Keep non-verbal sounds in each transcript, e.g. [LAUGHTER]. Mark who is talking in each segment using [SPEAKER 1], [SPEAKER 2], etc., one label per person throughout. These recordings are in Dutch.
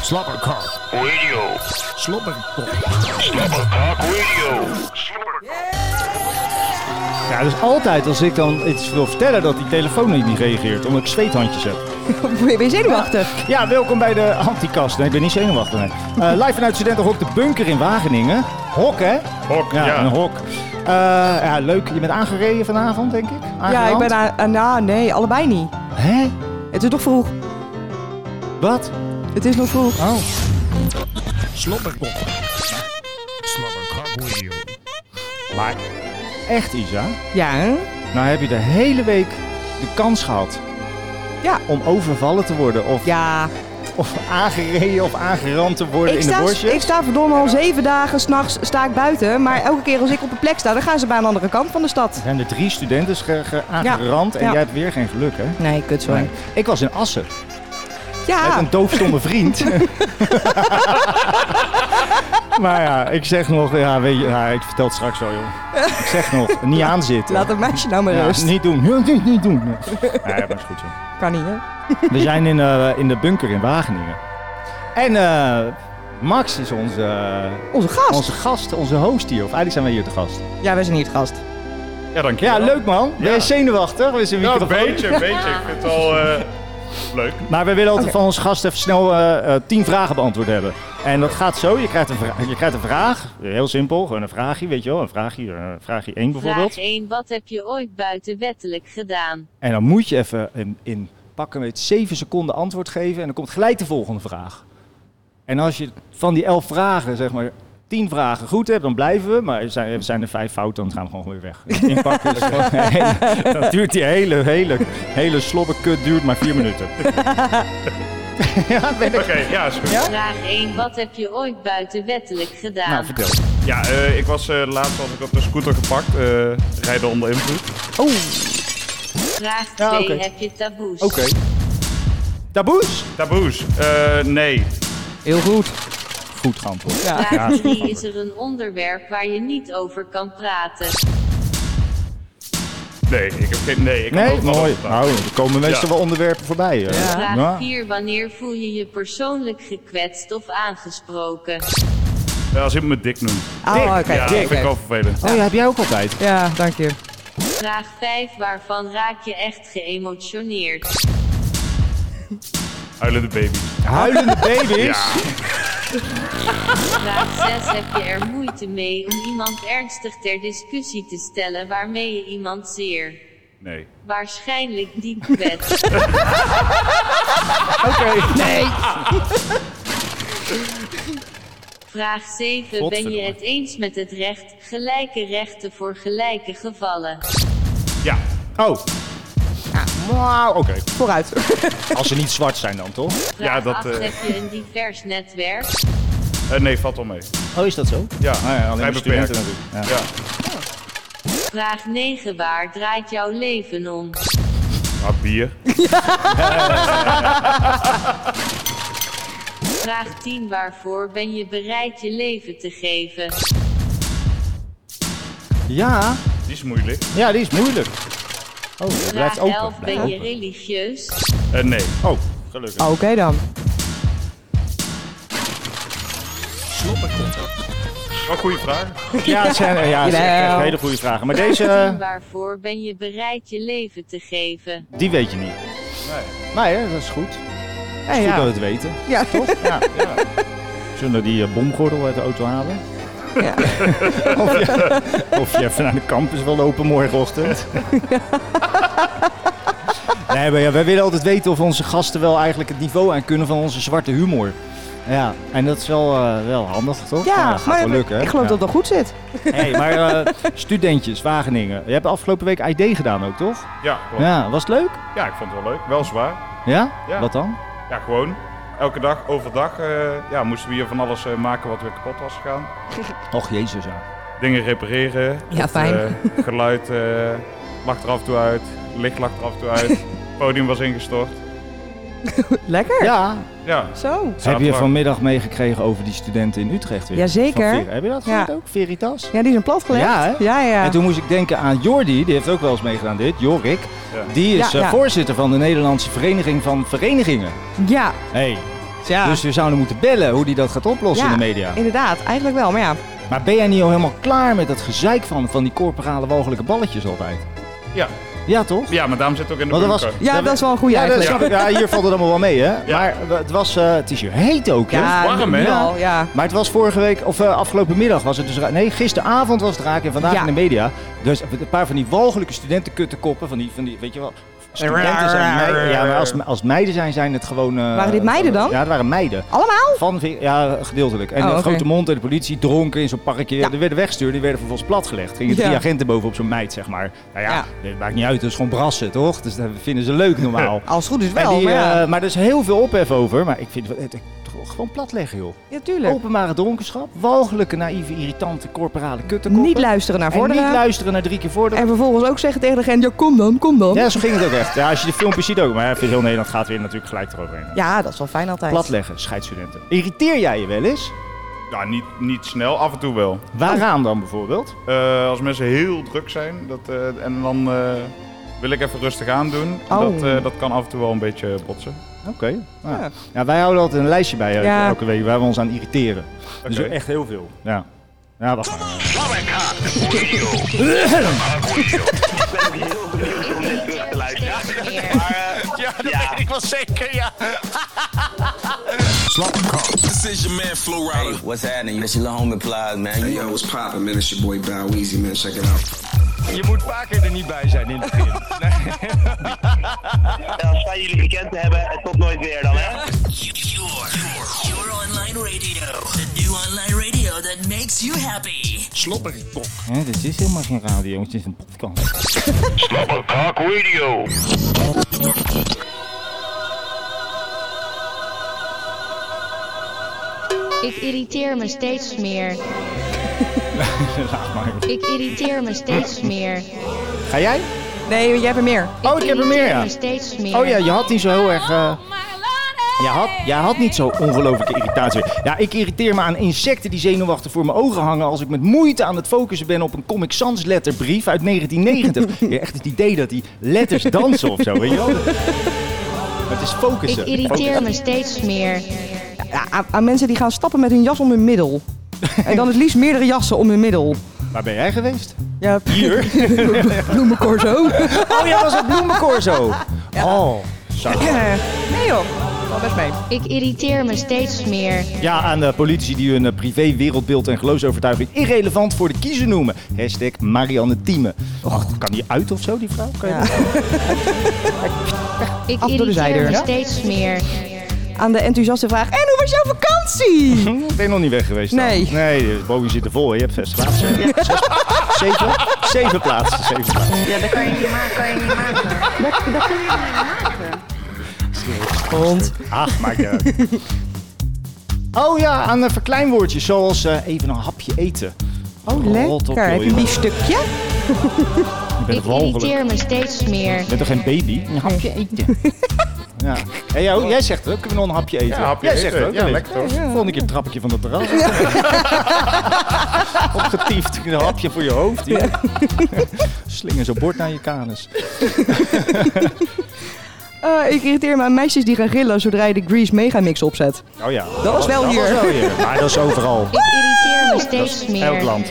[SPEAKER 1] Slobberkok.
[SPEAKER 2] Radio.
[SPEAKER 1] Slobberkok.
[SPEAKER 2] Slobberkok Radio. Slobberkok.
[SPEAKER 3] Ja, dus altijd als ik dan iets wil vertellen dat die telefoon niet niet reageert, omdat ik zweethandjes heb.
[SPEAKER 4] Ben je zenuwachtig?
[SPEAKER 3] Ja, welkom bij de Antikast. Nee, ik ben niet zenuwachtig. nee. Eh, live vanuit Studentenhok de Bunker in Wageningen. Hok, hè?
[SPEAKER 5] Hok, ja.
[SPEAKER 3] een hok. Eh, ja, leuk. Je bent aangereden vanavond, denk ik?
[SPEAKER 4] Ja, ik
[SPEAKER 3] Aangerand?
[SPEAKER 4] ben aan... aan- nou, nee, allebei niet.
[SPEAKER 3] Hè?
[SPEAKER 4] Het is nog vroeg.
[SPEAKER 3] Wat?
[SPEAKER 4] Het is nog vroeg.
[SPEAKER 3] Oh.
[SPEAKER 1] Slobberkok. Slobberkok Radio.
[SPEAKER 3] Maar echt, Isa?
[SPEAKER 4] Ja, hè?
[SPEAKER 3] Nou heb je de hele week de kans gehad
[SPEAKER 4] Ja.
[SPEAKER 3] om overvallen te worden. Of,
[SPEAKER 4] Ja.
[SPEAKER 3] of aangereden of aangerand te worden
[SPEAKER 4] Ik
[SPEAKER 3] in de
[SPEAKER 4] sta,
[SPEAKER 3] bosjes.
[SPEAKER 4] ik sta verdomme al zeven dagen s'nachts sta ik buiten. Maar elke keer als ik op een plek sta, dan gaan ze bij een andere kant van de stad.
[SPEAKER 3] Er zijn er drie studenten ge- ge- aangerand en
[SPEAKER 4] ja.
[SPEAKER 3] jij hebt weer geen geluk, hè?
[SPEAKER 4] Nee, kut zo.
[SPEAKER 3] Nee. Ik was in Assen met
[SPEAKER 4] Ja,
[SPEAKER 3] een doofstomme vriend. maar ja, ik zeg nog, ja, weet je, ja, ik vertel het straks wel, joh. Ik zeg nog, niet aanzitten.
[SPEAKER 4] laat het meisje nou maar
[SPEAKER 3] Ja,
[SPEAKER 4] rust.
[SPEAKER 3] niet doen, Ja, niet, niet doen. Nee, ja, maar is goed zo.
[SPEAKER 4] Kan niet, hè?
[SPEAKER 3] We zijn in, eh, in de bunker in Wageningen. En eh, Max is onze, eh,
[SPEAKER 4] Onze gast.
[SPEAKER 3] onze gast, onze host hier. Of eigenlijk zijn wij hier te gast.
[SPEAKER 4] Ja, wij zijn niet het gast.
[SPEAKER 5] Ja, dank je
[SPEAKER 3] Ja,
[SPEAKER 5] wel.
[SPEAKER 3] leuk man. Ben je
[SPEAKER 5] Ja.
[SPEAKER 3] zenuwachtig? We zijn
[SPEAKER 5] Nou,
[SPEAKER 3] weekend
[SPEAKER 5] een beetje, een beetje. Ik vind het al leuk.
[SPEAKER 3] Maar we willen altijd
[SPEAKER 4] Oké.
[SPEAKER 3] van onze gast even snel eh, eh, tien vragen beantwoord hebben. En dat gaat zo. Je krijgt, een vra- je krijgt een vraag. Heel simpel. Gewoon een vraagje, weet je wel. Een vraagje, eh vraagje 1 bijvoorbeeld.
[SPEAKER 6] Vraag 1. Wat heb je ooit buitenwettelijk gedaan?
[SPEAKER 3] En dan moet je even in, in pakken met 7 seconden antwoord geven. En dan komt gelijk de volgende vraag. En als je van die 11 vragen, zeg maar, 10 vragen goed hebt, dan blijven we. Maar er zijn, er zijn er vijf fouten, dan gaan we gewoon weer weg. Inpakken is gewoon een hele- dat duurt die hele, hele, hele slobberkut duurt maar 4 minuten. [LAUGHS] ja, ben
[SPEAKER 5] Oké,
[SPEAKER 3] ik.
[SPEAKER 5] ja, is goed.
[SPEAKER 3] Ja?
[SPEAKER 5] Ja,
[SPEAKER 6] Vraag 1. Wat heb je ooit buitenwettelijk gedaan?
[SPEAKER 3] Nou, vertel.
[SPEAKER 5] eh, ik was eh, laatst was ik op de scooter gepakt. eh, rijden onder invloed.
[SPEAKER 4] Oh.
[SPEAKER 6] Vraag 2.
[SPEAKER 3] Ja, oké.
[SPEAKER 6] Heb je taboes?
[SPEAKER 3] Oké. Taboes?
[SPEAKER 5] Taboes? Eh, nee.
[SPEAKER 4] Heel goed.
[SPEAKER 3] Goed geantwoord.
[SPEAKER 4] Ja.
[SPEAKER 3] Ja,
[SPEAKER 6] Vraag
[SPEAKER 3] is
[SPEAKER 6] 3. Is er een onderwerp waar je niet over kan praten?
[SPEAKER 5] Nee, ik heb geen... Nee, ik heb
[SPEAKER 3] Nee,
[SPEAKER 5] ook nog
[SPEAKER 3] mooi.
[SPEAKER 5] wat gedaan.
[SPEAKER 3] Nou, er komen meestal
[SPEAKER 5] Ja.
[SPEAKER 3] wel onderwerpen voorbij. eh.
[SPEAKER 4] Ja.
[SPEAKER 3] Ja.
[SPEAKER 6] Vraag 4. Wanneer voel je je persoonlijk gekwetst of aangesproken?
[SPEAKER 5] Ja, Eh, als iemand me dik noemt.
[SPEAKER 4] Oh,
[SPEAKER 3] Dick.
[SPEAKER 4] oké.
[SPEAKER 5] ja, dat
[SPEAKER 4] oké,
[SPEAKER 5] vind ik
[SPEAKER 4] oké.
[SPEAKER 5] wel vervelend.
[SPEAKER 3] Oh Ah, ja, heb jij ook altijd?
[SPEAKER 4] Ja, dank je.
[SPEAKER 6] Vraag 5. Waarvan raak je echt geëmotioneerd?
[SPEAKER 5] Huilen de baby.
[SPEAKER 3] [LAUGHS] Huilende baby's?
[SPEAKER 5] Ja.
[SPEAKER 6] Vraag 6. Heb je er moeite mee om iemand ernstig ter discussie te stellen waarmee je iemand zeer?
[SPEAKER 5] Nee.
[SPEAKER 6] Waarschijnlijk diep kwetst.
[SPEAKER 3] Oké.
[SPEAKER 4] [LAUGHS]
[SPEAKER 6] Vraag 7. Ben je het eens met het recht, gelijke rechten voor gelijke gevallen?
[SPEAKER 5] Ja.
[SPEAKER 3] Oh. Wauw, oké.
[SPEAKER 4] Vooruit.
[SPEAKER 3] Als ze niet zwart zijn dan, toch?
[SPEAKER 6] Vraag
[SPEAKER 5] Ja, dat,
[SPEAKER 6] 8.
[SPEAKER 5] eh.
[SPEAKER 6] Heb je een divers netwerk?
[SPEAKER 5] Eh, nee, valt wel mee.
[SPEAKER 3] Oh, is dat zo?
[SPEAKER 5] Ja,
[SPEAKER 3] ja, alleen
[SPEAKER 5] vrij
[SPEAKER 3] de studenten
[SPEAKER 5] beperkt.
[SPEAKER 3] natuurlijk.
[SPEAKER 5] Ja.
[SPEAKER 6] Vraag 9. Waar draait jouw leven om?
[SPEAKER 5] Ah, bier.
[SPEAKER 6] Vraag 10. Waarvoor ben je bereid je leven te geven?
[SPEAKER 3] Ja,
[SPEAKER 5] Die is moeilijk.
[SPEAKER 3] ja die is moeilijk. Oh, dat
[SPEAKER 6] Vraag
[SPEAKER 3] blijft open.
[SPEAKER 6] 11.
[SPEAKER 3] Blijft
[SPEAKER 6] Ben je
[SPEAKER 3] open.
[SPEAKER 6] religieus?
[SPEAKER 5] Eh, nee.
[SPEAKER 3] Oh,
[SPEAKER 5] Gelukkig.
[SPEAKER 4] Oké dan.
[SPEAKER 5] Wat goede vraag.
[SPEAKER 3] ja, het zijn, eh, ja, het zijn echt
[SPEAKER 4] Jawel.
[SPEAKER 3] hele goede vragen. Maar deze, eh,
[SPEAKER 6] Waarvoor ben je bereid je leven te geven?
[SPEAKER 3] die weet je niet.
[SPEAKER 5] Nee.
[SPEAKER 3] Maar hè, dat is goed. Goed
[SPEAKER 4] Hey,
[SPEAKER 3] dat we
[SPEAKER 4] ja.
[SPEAKER 3] het weten.
[SPEAKER 4] Ja.
[SPEAKER 3] Toch? Ja. Zullen we die eh, bomgordel uit de auto halen?
[SPEAKER 4] Ja.
[SPEAKER 3] [LAUGHS] Of je, of je even naar de campus wil lopen morgenochtend. [LAUGHS] Nee, maar ja, wij willen altijd weten of onze gasten wel eigenlijk het niveau aan kunnen van onze zwarte humor. Ja, en dat is wel, eh, wel handig, toch?
[SPEAKER 4] Ja,
[SPEAKER 3] dat gaat
[SPEAKER 4] maar
[SPEAKER 3] wel lukken, hè?
[SPEAKER 4] ik geloof
[SPEAKER 3] Ja.
[SPEAKER 4] dat het wel goed zit.
[SPEAKER 3] Hey, maar eh, studentjes, Wageningen. Je hebt afgelopen week ID gedaan ook, toch?
[SPEAKER 5] Ja, klopt.
[SPEAKER 3] Ja, was het leuk?
[SPEAKER 5] Ja, ik vond het wel leuk. Wel zwaar.
[SPEAKER 3] Ja?
[SPEAKER 5] Ja.
[SPEAKER 3] Wat dan?
[SPEAKER 5] Ja, gewoon. Elke dag, overdag, eh, ja, moesten we hier van alles eh, maken wat weer kapot was gegaan.
[SPEAKER 3] Och, jezus, ja.
[SPEAKER 5] Dingen repareren.
[SPEAKER 4] Ja,
[SPEAKER 5] Het,
[SPEAKER 4] fijn.
[SPEAKER 5] eh, geluid eh lag er af en toe uit. Licht lag er af en toe uit. podium was ingestort.
[SPEAKER 4] Lekker.
[SPEAKER 3] Ja.
[SPEAKER 5] Ja,
[SPEAKER 4] Zo.
[SPEAKER 3] Heb je
[SPEAKER 5] Zaterdag.
[SPEAKER 3] vanmiddag meegekregen over die studenten in Utrecht weer?
[SPEAKER 4] Jazeker.
[SPEAKER 3] Van Ver- Heb je dat
[SPEAKER 4] Ja.
[SPEAKER 3] gehoord ook? Veritas?
[SPEAKER 4] Ja, die is een platgelegd.
[SPEAKER 3] Ja, hè?
[SPEAKER 4] Ja, ja.
[SPEAKER 3] En toen moest ik denken aan Jordi, die heeft ook wel eens meegedaan dit, Jorik.
[SPEAKER 5] Ja.
[SPEAKER 3] Die is
[SPEAKER 4] Ja,
[SPEAKER 3] eh,
[SPEAKER 4] ja.
[SPEAKER 3] voorzitter van de Nederlandse Vereniging van Verenigingen.
[SPEAKER 4] ja.
[SPEAKER 3] Hé, hey,
[SPEAKER 4] ja.
[SPEAKER 3] Dus we zouden moeten bellen hoe die dat gaat oplossen
[SPEAKER 4] Ja,
[SPEAKER 3] in de media.
[SPEAKER 4] Inderdaad, eigenlijk wel. Maar ja,
[SPEAKER 3] Maar ben jij niet al helemaal klaar met dat gezeik van, van die corporale walgelijke balletjes altijd?
[SPEAKER 5] Ja.
[SPEAKER 3] Ja, toch?
[SPEAKER 5] Ja, maar daarom zit het ook in de
[SPEAKER 3] Want dat
[SPEAKER 5] bunker.
[SPEAKER 3] was-
[SPEAKER 4] ja
[SPEAKER 3] Dat
[SPEAKER 4] dat is wel een goede
[SPEAKER 3] Ja, dat
[SPEAKER 4] eigenlijk.
[SPEAKER 3] snap ik. Ja, hier valt het allemaal wel mee, hè? Maar eh, het was, eh, het is hier heet ook, hè?
[SPEAKER 5] warm, hè?
[SPEAKER 4] wel, ja.
[SPEAKER 3] Maar het was vorige week, of eh, afgelopen middag was het dus... ra- Nee, gisteravond was het raak en vandaag
[SPEAKER 4] Ja.
[SPEAKER 3] in de media. Dus een paar van die walgelijke studentenkuttenkoppen. Van die, van die, weet je wel... Studenten zijn meiden. Ja, maar als, me- als meiden zijn, zijn het gewoon... eh,
[SPEAKER 4] Waren dit meiden dan?
[SPEAKER 3] Ja, het waren meiden.
[SPEAKER 4] Allemaal?
[SPEAKER 3] Van, ja, gedeeltelijk. En
[SPEAKER 4] Oh,
[SPEAKER 3] de
[SPEAKER 4] oké.
[SPEAKER 3] grote mond en de politie dronken in zo'n parkje.
[SPEAKER 4] Ja.
[SPEAKER 3] Die werden weggestuurd, die werden vervolgens platgelegd. Gingen
[SPEAKER 4] Ja.
[SPEAKER 3] drie agenten boven op zo'n meid, zeg maar. Nou ja,
[SPEAKER 4] Ja.
[SPEAKER 3] dat maakt niet uit, dat is gewoon brassen, toch? Dus dat vinden ze leuk normaal.
[SPEAKER 4] Als het goed is
[SPEAKER 3] En
[SPEAKER 4] [LAUGHS] wel,
[SPEAKER 3] die,
[SPEAKER 4] maar ja.
[SPEAKER 3] eh, maar er is heel veel ophef over. Maar ik vind het, het- het- gewoon platleggen, joh.
[SPEAKER 4] ja, tuurlijk.
[SPEAKER 3] Openbare dronkenschap, walgelijke, naïeve, irritante, corporale kuttenkoppen.
[SPEAKER 4] Niet luisteren naar
[SPEAKER 3] En niet
[SPEAKER 4] vorderen.
[SPEAKER 3] luisteren naar drie keer vorderen.
[SPEAKER 4] En vervolgens ook zeggen tegen degene, ja kom dan, kom dan.
[SPEAKER 3] Ja, zo ging het ook echt. Ja, als je de filmpjes ziet ook. Maar even heel Nederland gaat weer natuurlijk gelijk eroverheen.
[SPEAKER 4] Ja, dat is wel fijn altijd.
[SPEAKER 3] Platleggen, scheidstudenten. Irriteer jij je wel eens?
[SPEAKER 5] Ja, niet, niet snel, af en toe wel.
[SPEAKER 3] Waaraan dan bijvoorbeeld?
[SPEAKER 5] Eh, als mensen heel druk zijn dat, eh, en dan eh, wil ik even rustig aan doen.
[SPEAKER 4] Oh.
[SPEAKER 5] Dat, eh, dat kan af en toe wel een beetje botsen.
[SPEAKER 3] Oké. nou.
[SPEAKER 4] Ja.
[SPEAKER 3] ja. wij houden altijd een lijstje bij eh,
[SPEAKER 4] Ja.
[SPEAKER 3] elke week waar we ons aan irriteren. Dus
[SPEAKER 5] Oké.
[SPEAKER 3] echt heel veel. Ja. Ja, wacht maar.
[SPEAKER 2] Slappe kaak radio. Kaak radio. Ik ben heel benieuwd om dit terug te luisteren. Maar, eh,
[SPEAKER 7] Ja, dat weet ik wel zeker, ja.
[SPEAKER 1] Slappe kak.
[SPEAKER 8] This is your man Flo Rida.
[SPEAKER 9] Hey, what's happening? That's your little homie Plies, man.
[SPEAKER 10] Hey,
[SPEAKER 9] You
[SPEAKER 10] yo, what's poppin', man? It's your boy Bow Weezy, man. Check it out.
[SPEAKER 7] Je moet vaker er niet bij zijn in het begin.
[SPEAKER 2] Dan staan jullie bekend te hebben en tot nooit weer dan, hè?
[SPEAKER 8] your, your, your online radio. The new online radio that makes you happy.
[SPEAKER 1] Slobberkok.
[SPEAKER 3] Hè, dit is helemaal geen radio, het is een podcast.
[SPEAKER 2] Slappe kaak radio.
[SPEAKER 11] Ik irriteer me steeds meer.
[SPEAKER 3] [LAUGHS] Laat maar.
[SPEAKER 11] Ik irriteer me steeds meer.
[SPEAKER 3] Ga jij?
[SPEAKER 4] Nee, jij hebt er meer.
[SPEAKER 3] Oh, ik heb er meer,
[SPEAKER 11] irriteer
[SPEAKER 3] ja.
[SPEAKER 11] me steeds meer.
[SPEAKER 3] Oh ja, je had niet zo heel erg... eh, Jij had, jij had niet zo ongelooflijke irritatie. Ja, ik irriteer me aan insecten die zenuwachtig voor mijn ogen hangen... als ik met moeite aan het focussen ben op een Comic Sans letterbrief uit [LAUGHS] 1990. Ja, echt het idee dat die letters dansen of zo, weet je wel? Het is
[SPEAKER 11] Ik
[SPEAKER 3] focussen.
[SPEAKER 11] irriteer me steeds meer.
[SPEAKER 4] Ja, aan, aan mensen die gaan stappen met hun jas om hun
[SPEAKER 3] [LAUGHS]
[SPEAKER 4] middel. en dan het liefst meerdere jassen om hun middel.
[SPEAKER 3] Waar ben jij geweest?
[SPEAKER 4] Ja,
[SPEAKER 3] Hier.
[SPEAKER 4] bloemencorso.
[SPEAKER 3] [LAUGHS] Oh ja, was het bloemencorso. Oh.
[SPEAKER 4] nee joh, wel best mee.
[SPEAKER 11] Ik irriteer me steeds meer.
[SPEAKER 3] Ja, aan de politici die hun eh, privé wereldbeeld en geloofsovertuiging irrelevant voor de kiezer noemen. Hashtag Marianne Thieme. Och, kan die uit of zo, die vrouw? Kan je
[SPEAKER 4] Ja.
[SPEAKER 3] dat-
[SPEAKER 11] Ik
[SPEAKER 4] Af door de
[SPEAKER 11] irriteer
[SPEAKER 4] zijdeur.
[SPEAKER 11] me
[SPEAKER 4] Ja?
[SPEAKER 11] steeds meer.
[SPEAKER 4] Aan de enthousiaste vraag, en hoe was jouw vakantie?
[SPEAKER 3] Hm, ben je nog niet weg geweest dan?
[SPEAKER 4] Nee.
[SPEAKER 3] Nee, de boven zit er vol. hè? Je hebt zes plaatsen. Zes- Zeven? Zeven plaatsen. Zeven plaatsen.
[SPEAKER 6] Ja, dat kan je niet maken, kan je niet maken. Dat, dat kun je niet maken.
[SPEAKER 4] Hond.
[SPEAKER 3] Ach, maakt niet uit. Oh ja, aan eh, verkleinwoordjes zoals eh, even een hapje eten.
[SPEAKER 4] Oh,
[SPEAKER 3] Rot op,
[SPEAKER 4] lekker. Heb je een
[SPEAKER 3] joh.
[SPEAKER 4] biefstukje?
[SPEAKER 3] Je bent
[SPEAKER 11] Ik irriteer me steeds meer.
[SPEAKER 3] Je bent toch geen baby? Een hapje eten. Ja. Hey, jou, jij zegt het ook, kunnen we nog een hapje eten?
[SPEAKER 5] Ja, hapje
[SPEAKER 3] jij
[SPEAKER 5] eten.
[SPEAKER 3] zegt het ook.
[SPEAKER 5] Ja,
[SPEAKER 3] wel eens.
[SPEAKER 5] lekker toch?
[SPEAKER 3] Volgende keer trap ik je van dat terras. [LAUGHS] Opgetiefd, een hapje voor je hoofd. hier. Slinger zo'n bord naar je kanus.
[SPEAKER 4] [LAUGHS] Eh, ik irriteer me aan meisjes die gaan gillen zodra je de Grease Megamix opzet.
[SPEAKER 3] Oh ja.
[SPEAKER 4] Dat was wel hier.
[SPEAKER 3] was wel
[SPEAKER 4] [LAUGHS]
[SPEAKER 3] hier. Maar dat is overal.
[SPEAKER 11] Ik irriteer me steeds meer.
[SPEAKER 3] Elk land.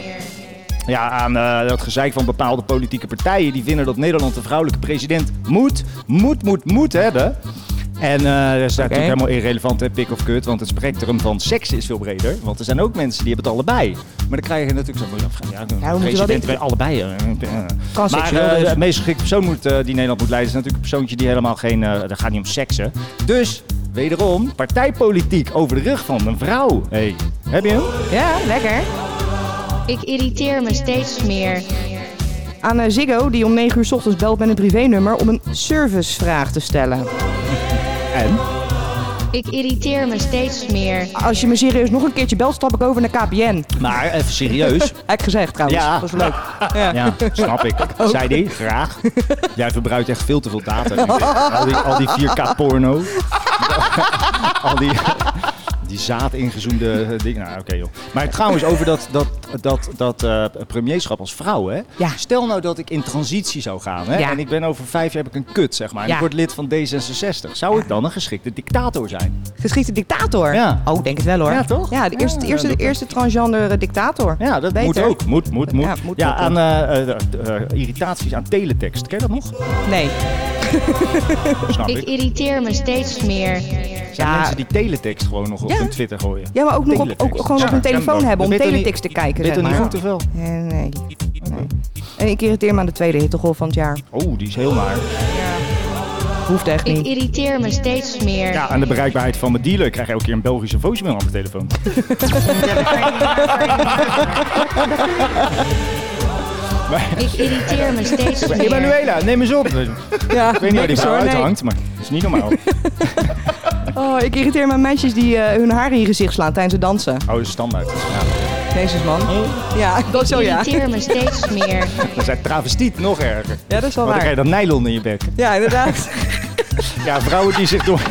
[SPEAKER 3] Ja, aan eh, dat gezeik van bepaalde politieke partijen. Die vinden dat Nederland een vrouwelijke president moet, moet, moet, moet hebben. En eh, dat is natuurlijk helemaal irrelevant, hè, pik of kut. Want het spectrum van seks is veel breder. Want er zijn ook mensen die hebben het allebei. Maar dan krijg je natuurlijk zo van, ja,
[SPEAKER 4] wel
[SPEAKER 3] ja, president
[SPEAKER 4] denken.
[SPEAKER 3] bij allebei. eh, eh.
[SPEAKER 4] Kan
[SPEAKER 3] maar
[SPEAKER 4] seksueel
[SPEAKER 3] eh,
[SPEAKER 4] dus.
[SPEAKER 3] de meest geschikte persoon moet, eh, die Nederland moet leiden... is natuurlijk een persoontje die helemaal geen... eh dat gaat niet om seksen. Dus, wederom, partijpolitiek over de rug van een vrouw. Hey, heb je hem?
[SPEAKER 4] Ja, lekker.
[SPEAKER 11] Ik irriteer me steeds meer.
[SPEAKER 4] Aan eh, Ziggo die om 9 uur 's ochtends belt met een privénummer om een servicevraag te stellen.
[SPEAKER 3] En?
[SPEAKER 11] Ik irriteer me steeds meer.
[SPEAKER 4] Als je me serieus nog een keertje belt, stap ik over naar KPN.
[SPEAKER 3] Maar even serieus.
[SPEAKER 4] Heb ik gezegd trouwens.
[SPEAKER 3] Ja.
[SPEAKER 4] Dat is leuk. [LAUGHS] Ja.
[SPEAKER 3] Ja, snap [LAUGHS] ik. Zei die, graag. Jij verbruikt echt veel te veel [LAUGHS] data. Al die, al die 4K porno. al die, die die zaad ingezoomde eh, dingen. Nou, oké joh. Maar trouwens, over dat, dat, dat, dat eh, premierschap als vrouw, hè? Stel nou dat ik in transitie zou gaan, hè?
[SPEAKER 12] Ja.
[SPEAKER 3] En ik ben over vijf jaar heb ik een kut, zeg maar. En
[SPEAKER 12] Ja.
[SPEAKER 3] ik word lid van D66. Zou ik dan een geschikte dictator zijn?
[SPEAKER 4] Geschikte dictator?
[SPEAKER 3] Ja.
[SPEAKER 4] Oh, denk het wel hoor.
[SPEAKER 3] Ja, toch?
[SPEAKER 4] Ja, de eerste, de eerste, de eerste transgender eh, dictator.
[SPEAKER 3] Ja, dat
[SPEAKER 4] Beter.
[SPEAKER 3] Moet ook, moet, moet, moet. Ja,
[SPEAKER 4] moet ook,
[SPEAKER 3] aan eh, eh, eh, eh, irritaties aan teletext. Ken je dat nog?
[SPEAKER 4] Nee.
[SPEAKER 3] Snap
[SPEAKER 11] Ik
[SPEAKER 3] ik.
[SPEAKER 11] irriteer me steeds meer.
[SPEAKER 3] Zijn mensen die teletext gewoon nog op
[SPEAKER 11] Ja.
[SPEAKER 3] hun Twitter gooien?
[SPEAKER 4] Ja, maar ook nog op, ook gewoon op hun telefoon hebben om teletext te kijken.
[SPEAKER 3] Dit
[SPEAKER 4] zeg
[SPEAKER 3] niet
[SPEAKER 4] maar.
[SPEAKER 3] goed of wel?
[SPEAKER 4] Nee, nee. nee. En ik irriteer me aan de tweede hittegolf van het jaar.
[SPEAKER 3] Oh, die is heel naar.
[SPEAKER 4] Hoeft echt
[SPEAKER 11] Ik
[SPEAKER 4] niet.
[SPEAKER 11] irriteer me steeds meer.
[SPEAKER 3] Ja, aan de bereikbaarheid van mijn dealer krijg je elke keer een Belgische voicemail op mijn
[SPEAKER 4] [LAUGHS]
[SPEAKER 3] telefoon.
[SPEAKER 11] Ik irriteer me
[SPEAKER 3] [LAUGHS]
[SPEAKER 11] steeds meer.
[SPEAKER 3] Emanuela, neem eens op. ik weet niet waar die
[SPEAKER 4] niks
[SPEAKER 3] vrouw
[SPEAKER 4] hoor, nee.
[SPEAKER 3] uithangt, maar dat is niet normaal.
[SPEAKER 4] Oh, ik irriteer me aan meisjes die eh, hun haar in je gezicht slaan tijdens het dansen.
[SPEAKER 3] Oh, dat is standaard. Ja.
[SPEAKER 4] Jezus man.
[SPEAKER 3] Oh.
[SPEAKER 4] Ja, dat zo ja.
[SPEAKER 11] Ik irriteer me steeds meer.
[SPEAKER 3] Dan zijn travestiet nog erger.
[SPEAKER 4] Ja, dat
[SPEAKER 3] Want
[SPEAKER 4] is wel
[SPEAKER 3] dan
[SPEAKER 4] waar.
[SPEAKER 3] krijg je dat nylon in je bek.
[SPEAKER 4] Ja,
[SPEAKER 3] [LAUGHS]
[SPEAKER 4] inderdaad.
[SPEAKER 3] Ja, vrouwen die zich door...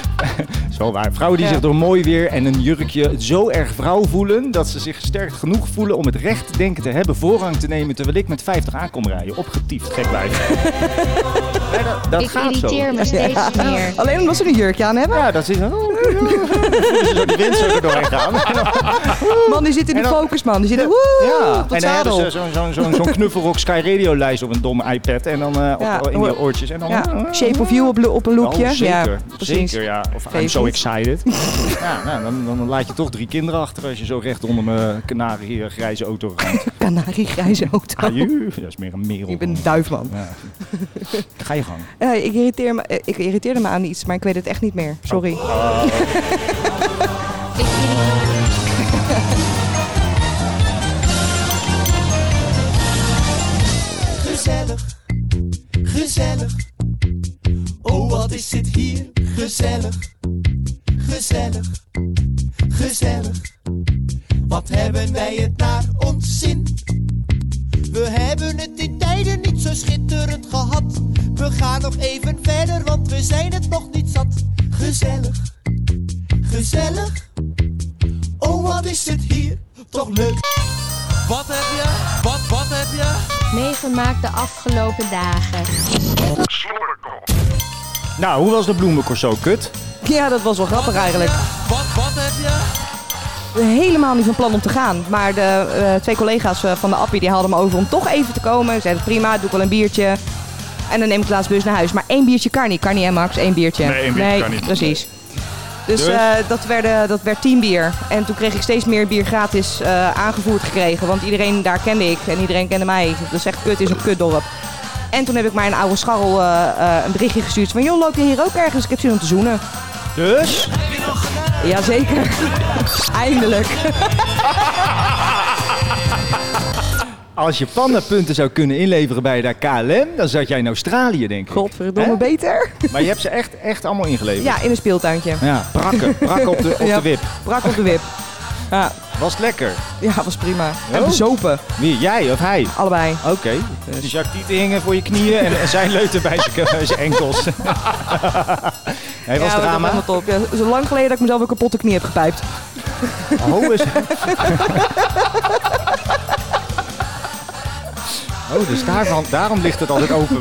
[SPEAKER 3] [LAUGHS] is wel waar. Vrouwen die
[SPEAKER 4] Ja.
[SPEAKER 3] zich door mooi weer en een jurkje zo erg vrouw voelen... dat ze zich gesterkt genoeg voelen om het recht te denken te hebben... voorrang te nemen terwijl ik met 50 aankom rijden. Opgetiefd, gek
[SPEAKER 4] [LAUGHS]
[SPEAKER 3] wijf. Ja, [LAUGHS] dat dat
[SPEAKER 4] Ik
[SPEAKER 3] gaat zo.
[SPEAKER 4] irriteer me steeds
[SPEAKER 3] Ja.
[SPEAKER 4] meer. Alleen omdat ze een jurkje aan hebben?
[SPEAKER 3] Ja, [LAUGHS] dat is... Zo die wind zo er doorheen gaan.
[SPEAKER 4] Man, die zit in de focus, man. Die zit er,
[SPEAKER 3] Ja,
[SPEAKER 4] woe, op
[SPEAKER 3] en
[SPEAKER 4] het
[SPEAKER 3] dan hebben
[SPEAKER 4] zadel.
[SPEAKER 3] ze zo'n zo'n zo'n knuffelrock Sky Radio lijst op een domme iPad en dan eh, op-
[SPEAKER 4] Ja,
[SPEAKER 3] in
[SPEAKER 4] hoor.
[SPEAKER 3] je oortjes. En dan, eh,
[SPEAKER 4] Ja, shape of you op, lo- op een loopje.
[SPEAKER 3] Oh, zeker,
[SPEAKER 4] ja, precies.
[SPEAKER 3] zeker ja. Of I'm
[SPEAKER 4] Favorite.
[SPEAKER 3] so
[SPEAKER 4] [LAUGHS]
[SPEAKER 3] excited. ja, nou, dan, dan laat je toch drie kinderen achter als je zo recht onder mijn kanarie eh, grijze auto
[SPEAKER 4] [LAUGHS]
[SPEAKER 3] gaat.
[SPEAKER 4] Kanariegrijze auto.
[SPEAKER 3] Aju, dat is meer een merel.
[SPEAKER 4] Ik ben een duifman.
[SPEAKER 3] Ja. Ga je gang.
[SPEAKER 4] Ja, ik, irriteer me, eh, ik irriteerde me aan iets, maar ik weet het echt niet meer. Sorry.
[SPEAKER 13] Gezellig, gezellig. Oh, wat is dit hier gezellig, gezellig, gezellig. Wat hebben wij het naar ons zin? We hebben het in tijden niet zo schitterend gehad. We gaan nog even verder, want we zijn het nog niet zat. Gezellig, gezellig. Oh, wat is het hier toch leuk? Wat heb je? Wat, wat heb je?
[SPEAKER 11] Meegemaakt de afgelopen dagen.
[SPEAKER 3] Nou, hoe was de bloemencorso? Kut?
[SPEAKER 4] Ja, dat was wel grappig eigenlijk.
[SPEAKER 13] Wat, wat heb je?
[SPEAKER 4] Helemaal niet van plan om te gaan. Maar de eh, twee collega's eh, van de Appie die haalden me over om toch even te komen. Ze zeiden prima, doe ik wel een biertje. En dan neem ik laatst bus naar huis. Maar één biertje kan niet. Kan niet, hè Max? Eén biertje.
[SPEAKER 5] Nee, één biertje kan niet.
[SPEAKER 4] Precies. Dus,
[SPEAKER 5] Dus?
[SPEAKER 4] eh, dat, werden, dat werd tien bier. En toen kreeg ik steeds meer bier gratis eh, aangevoerd gekregen. Want iedereen daar kende ik en iedereen kende mij. Dus echt kut is een kutdorp. En toen heb ik mijn oude scharrel eh, eh, een berichtje gestuurd van... joh, loop je hier ook ergens? Ik heb zin om te zoenen.
[SPEAKER 3] Dus?
[SPEAKER 4] Jazeker. [LAUGHS] Eindelijk.
[SPEAKER 3] Als je pandapunten zou kunnen inleveren bij de KLM, dan zat jij in Australië, denk ik.
[SPEAKER 4] Godverdomme,
[SPEAKER 3] Hè?
[SPEAKER 4] beter.
[SPEAKER 3] Maar je hebt ze echt, echt allemaal ingeleverd.
[SPEAKER 4] Ja, in een speeltuintje.
[SPEAKER 3] Ja, prakken. Prakken
[SPEAKER 4] [LAUGHS]
[SPEAKER 3] op de, op
[SPEAKER 4] Ja,
[SPEAKER 3] de wip.
[SPEAKER 4] Prak op de wip. Ja.
[SPEAKER 3] Was het lekker?
[SPEAKER 4] Ja, was prima. En
[SPEAKER 3] Oh.
[SPEAKER 4] bezopen.
[SPEAKER 3] Wie, jij of hij?
[SPEAKER 4] Allebei.
[SPEAKER 3] Oké. Dus Jacques Tieten hingen voor je knieën en, en zijn leuten bij zijn- zijn [LAUGHS] enkels. Hij was drama.
[SPEAKER 4] ja, Dat was helemaal top. Ja, het is lang geleden dat ik mezelf een kapotte knie heb gepijpt. [LAUGHS]
[SPEAKER 3] Oh, is... Oh, dus daarvan, daarom ligt het altijd open.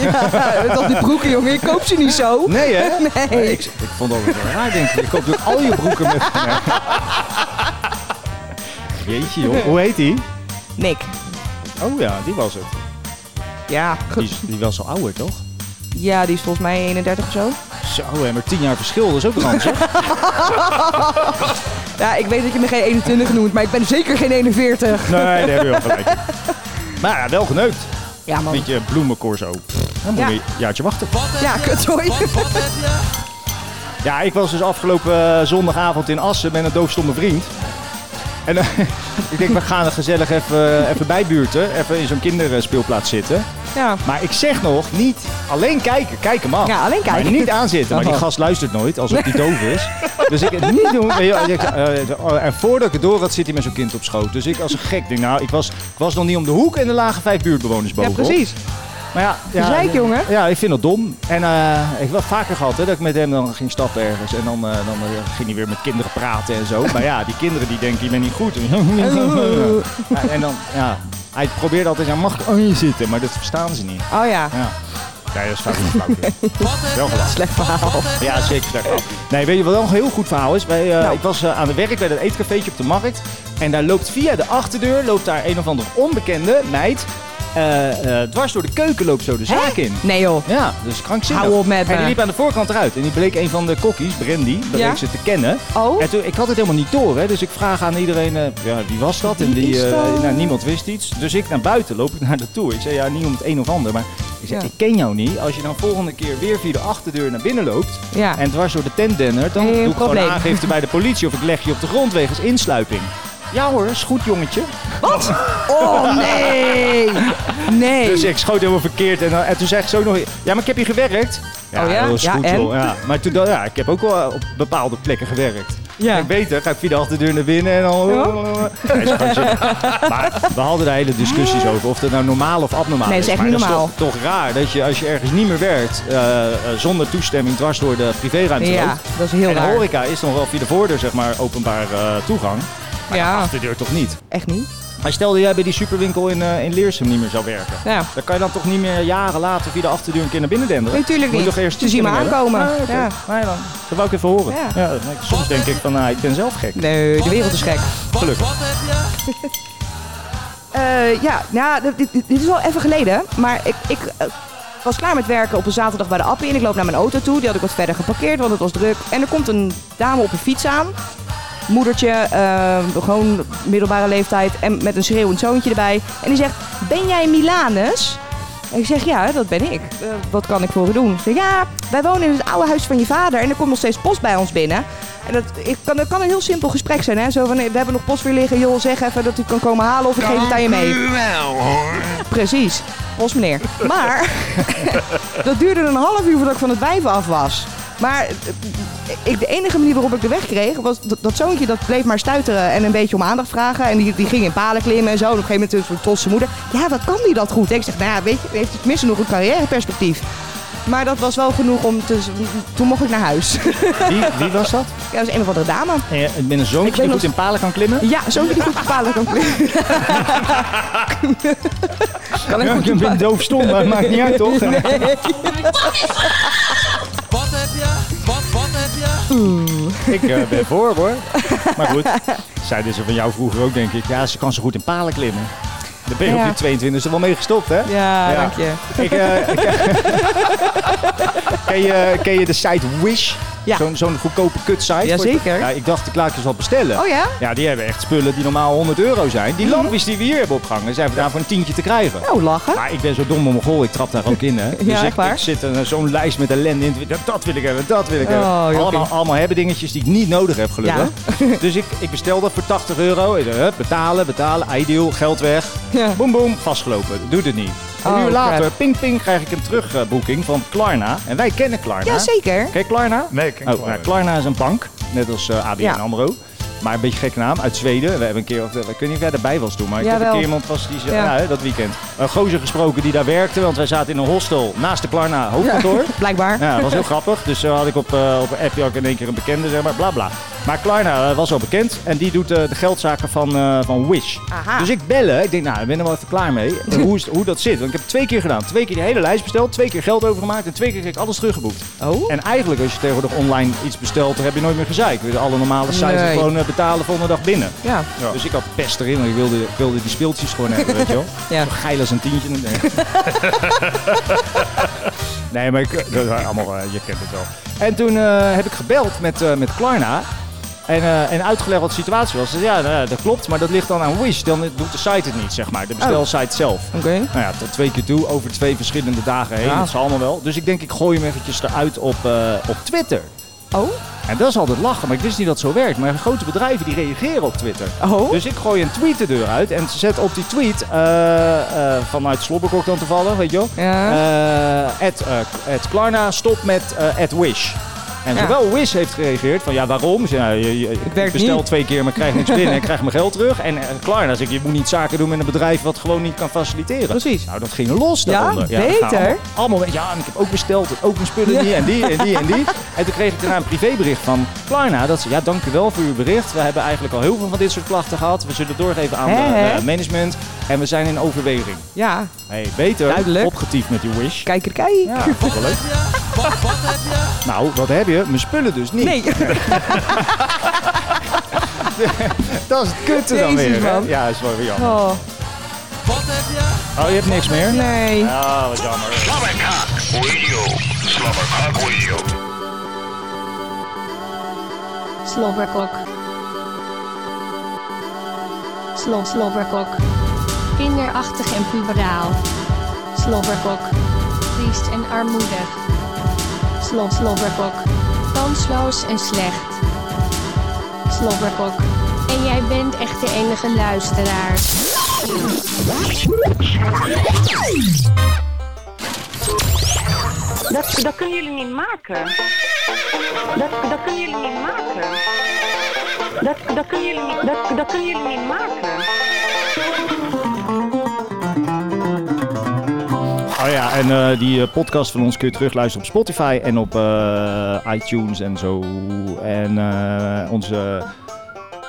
[SPEAKER 4] ja, met al die broeken, jongen. Ik koop ze niet zo.
[SPEAKER 3] Nee, hè?
[SPEAKER 4] Nee.
[SPEAKER 3] Ik, ik vond dat wel raar, denk ik. Je koopt ook al je broeken met... Jeetje, joh. Hoe heet die?
[SPEAKER 4] Nick.
[SPEAKER 3] Oh ja, die was het.
[SPEAKER 4] Ja.
[SPEAKER 3] Die, is- die was al ouder, toch?
[SPEAKER 4] Ja, die is volgens mij 31 of zo.
[SPEAKER 3] Zo, hè, maar tien jaar verschil, dat is ook een zeg.
[SPEAKER 4] ja, ik weet dat je me geen 21 noemt, maar ik ben zeker geen 41.
[SPEAKER 3] Nee, daar heb je wel gelijk. in. Maar ja, wel geneukt.
[SPEAKER 4] Ja, man.
[SPEAKER 3] Beetje bloemencorso. Pff, Dan moet
[SPEAKER 4] Ja.
[SPEAKER 3] je een jaartje wachten.
[SPEAKER 4] Ja, kut hoor. [LAUGHS]
[SPEAKER 3] Ja, ik was dus afgelopen eh, zondagavond in Assen met een doofstomme vriend. En eh, [LAUGHS] ik denk, we gaan er gezellig even, eh, even bijbuurten. Even in zo'n kinderspeelplaats zitten.
[SPEAKER 4] Ja.
[SPEAKER 3] Maar ik zeg nog, niet alleen kijken. Kijk hem af.
[SPEAKER 4] Ja, alleen kijken.
[SPEAKER 3] Maar niet aanzitten. Maar die
[SPEAKER 4] Oh.
[SPEAKER 3] gast luistert nooit, alsof
[SPEAKER 4] [LAUGHS]
[SPEAKER 3] die doof is. Dus ik het niet doen. Weet je wel, ik, eh, en voordat ik het door had, zit hij met zo'n kind op schoot. Dus ik als een gek denk, nou, ik was, ik was nog niet om de hoek en er lagen vijf buurtbewoners
[SPEAKER 4] Ja,
[SPEAKER 3] bovenop.
[SPEAKER 4] precies.
[SPEAKER 3] Maar ja, ja,
[SPEAKER 4] Gezeik, jongen.
[SPEAKER 3] Ja, ik vind dat dom. En eh, ik heb wel vaker gehad hè, dat ik met hem dan ging stappen ergens. En dan, eh, dan eh, ging hij weer met kinderen praten en zo. maar ja, die kinderen die denken, je bent niet goed. [LAUGHS] ja, en dan, ja, hij probeerde altijd, ja, mag ik aan je zitten? Maar dat verstaan ze niet.
[SPEAKER 4] Oh ja.
[SPEAKER 3] Ja, ja dat is vaak een flauw. [LAUGHS] Wel gedaan.
[SPEAKER 4] Slecht verhaal.
[SPEAKER 3] Ja, zeker slecht verhaal. Nee, weet je wat wel een heel goed verhaal is? Wij, eh, Ik was eh, aan de werk bij dat eetcafeetje op de markt. En daar loopt via de achterdeur loopt daar een of andere onbekende meid. eh, eh, dwars door de keuken loopt zo de zaak in.
[SPEAKER 4] Nee joh.
[SPEAKER 3] Ja, dus krankzinnig.
[SPEAKER 4] Hou op met
[SPEAKER 3] En
[SPEAKER 4] me.
[SPEAKER 3] die liep aan de voorkant eruit. En die bleek een van de kokkies, Brandy, dat
[SPEAKER 4] Ja?
[SPEAKER 3] ik ze te kennen. Oh. En toen, ik had het helemaal niet door, hè. Dus ik vraag aan iedereen, eh, ja, wie was dat? en
[SPEAKER 4] Wie
[SPEAKER 3] die,
[SPEAKER 4] is
[SPEAKER 3] eh,
[SPEAKER 4] dat?
[SPEAKER 3] nou, niemand wist iets. Dus ik naar buiten loop ik [LAUGHS] naar de toe. Ik zei, ja, niet om het een of ander. Maar ik zei,
[SPEAKER 4] Ja.
[SPEAKER 3] ik ken jou niet. Als je dan volgende keer weer via de achterdeur naar binnen loopt.
[SPEAKER 4] Ja.
[SPEAKER 3] En dwars door de tent dennert. Dan
[SPEAKER 4] Geen
[SPEAKER 3] doe ik
[SPEAKER 4] probleem.
[SPEAKER 3] gewoon aangifte bij de politie. Of ik leg je op de grond wegens insluiping. Ja hoor, is goed jongetje.
[SPEAKER 4] Wat? Oh [LAUGHS] nee! Nee.
[SPEAKER 3] Dus ik schoot helemaal verkeerd. En, dan- en toen zei ik zo nog... Ja, maar ik heb hier gewerkt.
[SPEAKER 4] Oh ja?
[SPEAKER 3] dat is
[SPEAKER 4] Ja,
[SPEAKER 3] goed,
[SPEAKER 4] en?
[SPEAKER 3] joh. Ja. Maar toen dacht ja, ik heb ook wel op bepaalde plekken gewerkt. Ja. Ik beter, ga ik via de achterdeur naar binnen en dan... Ja, is gewoon zin. maar we hadden daar hele discussies over of dat nou normaal of abnormaal
[SPEAKER 4] Nee,
[SPEAKER 3] is.
[SPEAKER 4] is echt
[SPEAKER 3] maar
[SPEAKER 4] niet
[SPEAKER 3] dat
[SPEAKER 4] normaal.
[SPEAKER 3] toch, toch raar dat je als je ergens niet meer werkt eh, eh, zonder toestemming dwars door de privéruimte
[SPEAKER 4] Ja,
[SPEAKER 3] loopt.
[SPEAKER 4] dat is heel
[SPEAKER 3] en de
[SPEAKER 4] raar.
[SPEAKER 3] horeca is nog wel via de voordeur zeg maar openbaar eh, toegang. Maar
[SPEAKER 4] Ja.
[SPEAKER 3] de achterdeur toch niet.
[SPEAKER 4] Echt niet?
[SPEAKER 3] Maar stel dat jij bij die superwinkel in, eh, in Leersum niet meer zou werken.
[SPEAKER 4] Ja.
[SPEAKER 3] Dan kan je dan toch niet meer jaren later via de achterdeur een keer naar binnen denderen?
[SPEAKER 4] Nee, tuurlijk
[SPEAKER 3] Moet je
[SPEAKER 4] niet.
[SPEAKER 3] toch eerst
[SPEAKER 4] Ze zien me
[SPEAKER 3] toestemming hebben?
[SPEAKER 4] aankomen.
[SPEAKER 3] Ah, oké.
[SPEAKER 4] Ja.
[SPEAKER 3] Nee, dan. Dat wou ik even horen.
[SPEAKER 4] Ja.
[SPEAKER 3] Ja. nee, soms denk ik van, nou, ik ben zelf
[SPEAKER 4] [LAUGHS]
[SPEAKER 3] gek.
[SPEAKER 4] Nee, de wereld is gek.
[SPEAKER 3] Gelukkig.
[SPEAKER 4] Eh, ja, nou, dit, dit- dit is wel even geleden. Maar ik, ik eh, was klaar met werken op een zaterdag bij de Appie. En ik loop naar mijn auto toe. Die had ik wat verder geparkeerd, want het was druk. En er komt een dame op een fiets aan. Moedertje, eh, gewoon middelbare leeftijd. En met een schreeuwend zoontje erbij. En die zegt, ben jij Milanus? En ik zeg, ja, dat ben ik. "Eh, wat kan ik voor u doen? Ze zegt, ja, wij wonen in het oude huis van je vader. En er komt nog steeds post bij ons binnen. En dat, ik kan, dat kan een heel simpel gesprek zijn, hè. Zo van, we hebben nog post weer liggen. Joh, zeg even dat u kan komen halen of ik geef het aan je mee.
[SPEAKER 7] wel hoor.
[SPEAKER 4] Precies, post meneer.
[SPEAKER 7] [LAUGHS]
[SPEAKER 4] Maar dat duurde een half uur voordat ik van het wijf af was. Maar eh, ik, de enige manier waarop ik de weg kreeg, was dat, dat zoontje dat bleef maar stuiteren en een beetje om aandacht vragen. En die, die ging in palen klimmen en zo. En op een gegeven moment toen tot zijn moeder. Ja, wat kan die dat goed? En ik zeg, nou ja, weet je, heeft het tenminste nog een carrièreperspectief. Maar dat was wel genoeg om te... Toen mocht ik naar huis. [LAUGHS]
[SPEAKER 3] Wie, wie was dat?
[SPEAKER 4] Ja, dat is een of andere dame.
[SPEAKER 3] En je- met een
[SPEAKER 4] Ik weet
[SPEAKER 3] zoontje die
[SPEAKER 4] nog-
[SPEAKER 3] goed in palen kan klimmen?
[SPEAKER 4] Ja, zoontje die goed in palen kan klimmen. [LAUGHS] kan ik
[SPEAKER 3] Ja,
[SPEAKER 4] goed in
[SPEAKER 3] ik ben doof stom, maar het maakt niet uit,
[SPEAKER 4] [LAUGHS]
[SPEAKER 3] toch?
[SPEAKER 4] Nee.
[SPEAKER 3] Ik eh, ben voor,
[SPEAKER 4] [LAUGHS]
[SPEAKER 3] hoor. Maar goed, zeiden ze van jou vroeger ook, denk ik. Ja, ze kan zo goed in palen klimmen. Daar ben je op
[SPEAKER 4] Ja.
[SPEAKER 3] je 22e wel mee gestopt, hè?
[SPEAKER 4] Ja, dank je.
[SPEAKER 3] Ik, eh, ik- [LAUGHS] ken, je, ken je de site Wish?
[SPEAKER 4] Ja.
[SPEAKER 3] Zo'n zo'n goedkope kutsite.
[SPEAKER 4] Jazeker.
[SPEAKER 3] Ja, ik dacht, ik laat het wel bestellen.
[SPEAKER 4] Oh ja? Mhm.
[SPEAKER 3] Ja, die hebben echt spullen die normaal 100 euro zijn. Die lampjes die we hier hebben opgehangen, zijn vandaag voor een tientje te krijgen.
[SPEAKER 4] Nou, lachen.
[SPEAKER 3] Maar ik ben zo dom om goal, ik trap daar ook in.
[SPEAKER 4] [LAUGHS]
[SPEAKER 3] Hè. Dus
[SPEAKER 4] Ja,
[SPEAKER 3] ik,
[SPEAKER 4] echt waar.
[SPEAKER 3] ik zit er zo'n lijst met ellende in. Dat, dat wil ik hebben, dat wil ik
[SPEAKER 4] Oh,
[SPEAKER 3] hebben.
[SPEAKER 4] joppie.
[SPEAKER 3] Allemaal, allemaal hebben dingetjes die ik niet nodig heb, gelukkig. [LAUGHS] dus ik, ik bestel dat voor 80 euro. Ik dacht, hup, betalen, betalen, ideal, geld weg.
[SPEAKER 4] Ja.
[SPEAKER 3] Boom, boom, vastgelopen. Doet het niet. Een
[SPEAKER 4] Oh,
[SPEAKER 3] uur later,
[SPEAKER 4] crap.
[SPEAKER 3] ping, ping, krijg ik een terugboeking van Klarna. En wij kennen Klarna.
[SPEAKER 4] Ja, zeker.
[SPEAKER 3] Ken je Klarna?
[SPEAKER 5] Nee, ik ken
[SPEAKER 3] Oh,
[SPEAKER 5] Klarna.
[SPEAKER 3] nou, Klarna is een bank, net als eh, ABN
[SPEAKER 4] Ja.
[SPEAKER 3] AMRO. Maar een beetje gekke naam, uit Zweden. We hebben een keer, of, eh, ik weet niet of jij erbij was toen, maar ik heb een
[SPEAKER 4] Jawel.
[SPEAKER 3] keer iemand vast die zei,
[SPEAKER 4] Ja.
[SPEAKER 3] ja. hè, dat weekend. Een gozer gesproken die daar werkte, want wij zaten in een hostel naast de Klarna hoofdkantoor. Ja.
[SPEAKER 4] [LAUGHS] Blijkbaar.
[SPEAKER 3] dat was heel grappig. Dus zo had ik op, eh, op een appje ook in één keer een bekende, zeg maar, bla bla. Maar Klarna eh, was al bekend en die doet eh, de geldzaken van, eh, van Wish.
[SPEAKER 4] Aha.
[SPEAKER 3] Dus ik bellen, ik denk, nou, ik ben er wel even klaar mee. eh, hoe, is, hoe dat zit. Want ik heb twee keer gedaan. Twee keer die hele lijst besteld, twee keer geld overgemaakt en twee keer kreeg ik alles teruggeboekt.
[SPEAKER 4] Oh?
[SPEAKER 3] En eigenlijk, als je tegenwoordig online iets bestelt, dan heb je nooit meer gezeik. Weer alle normale sites
[SPEAKER 4] Nee.
[SPEAKER 3] gewoon eh, betalen volgende dag binnen.
[SPEAKER 4] Ja.
[SPEAKER 3] Dus ik had pest erin, want ik wilde, ik wilde die speeltjes gewoon hebben, weet je wel. [LAUGHS]
[SPEAKER 4] Ja.
[SPEAKER 3] Zo geil als een tientje. Nee, [LAUGHS] nee maar ik, dat waren allemaal, eh, je kent het wel. En toen eh, heb ik gebeld met, eh, met Klarna. En, eh, en uitgelegd wat de situatie was. Ze zei, Ja, nou, dat klopt, maar dat ligt dan aan Wish. Dan doet de site het niet, zeg maar. De bestelsite zelf.
[SPEAKER 4] Oké.
[SPEAKER 3] Nou ja, tot twee keer toe, over twee verschillende dagen heen.
[SPEAKER 4] Ja.
[SPEAKER 3] Dat zal allemaal wel. Dus ik denk, ik gooi hem eventjes eruit op, eh, op Twitter.
[SPEAKER 4] Oh?
[SPEAKER 3] En dat is altijd lachen, maar ik wist niet dat het zo werkt. Maar grote bedrijven die reageren op Twitter.
[SPEAKER 4] Oh?
[SPEAKER 3] Dus ik gooi een tweet de deur uit en zet op die tweet, eh, eh, vanuit Slobberkok dan toevallig, weet je wel.
[SPEAKER 4] Ja.
[SPEAKER 3] Eh, at, eh, at Klarna, stop met eh at Wish. En
[SPEAKER 4] Ja.
[SPEAKER 3] zowel Wish heeft gereageerd van ja, waarom? Ze, nou, je, je, ik bestel
[SPEAKER 4] niet.
[SPEAKER 3] twee keer, maar krijg niks binnen en krijg mijn geld terug. En eh, Klarna zegt, je moet niet zaken doen met een bedrijf wat gewoon niet kan faciliteren. Precies. Nou, dat ging los
[SPEAKER 4] Ja,
[SPEAKER 3] daaronder. dat
[SPEAKER 4] beter.
[SPEAKER 3] gaan Allemaal, allemaal, ja, en ik heb ook besteld, en ook mijn spullen
[SPEAKER 4] Ja.
[SPEAKER 3] die en die en die en
[SPEAKER 4] [LAUGHS]
[SPEAKER 3] die. En toen kreeg ik daarna een privébericht van Klarna. Dat ze, ja, dank u wel voor uw bericht. We hebben eigenlijk al heel veel van dit soort klachten gehad. We zullen doorgeven aan
[SPEAKER 4] Hè,
[SPEAKER 3] de
[SPEAKER 4] hè?
[SPEAKER 3] eh, management. En we zijn in overweging.
[SPEAKER 4] Ja,
[SPEAKER 3] Hey, beter. Duidelijk. Opgetiefd met die wish.
[SPEAKER 4] kijk er, kijk.
[SPEAKER 3] Ja, vond ik wel leuk. Nou, wat heb je? Mijn spullen dus niet.
[SPEAKER 4] Nee.
[SPEAKER 3] dat is het kutte dan
[SPEAKER 4] Jezus,
[SPEAKER 3] weer. hè?
[SPEAKER 4] man.
[SPEAKER 3] Ja, is wel weer jammer.
[SPEAKER 4] Oh.
[SPEAKER 3] Oh, je hebt niks meer?
[SPEAKER 4] Nee.
[SPEAKER 3] Ah, wat jammer.
[SPEAKER 11] Slobberkok. Slob slobberkok. Kinderachtig en puberaal. Slobberkok. Triest en armoedig. Slob slobberkok. Kansloos en slecht. Slobberkok. En jij bent echt de enige luisteraar.
[SPEAKER 12] Dat, dat kunnen jullie niet maken. Dat, dat kunnen jullie niet maken. Dat, dat, kunnen jullie niet, dat, dat kunnen jullie niet maken.
[SPEAKER 3] Oh ja, en eh, die eh, podcast van ons kun je terugluisteren op Spotify en op eh, iTunes en zo. En eh, onze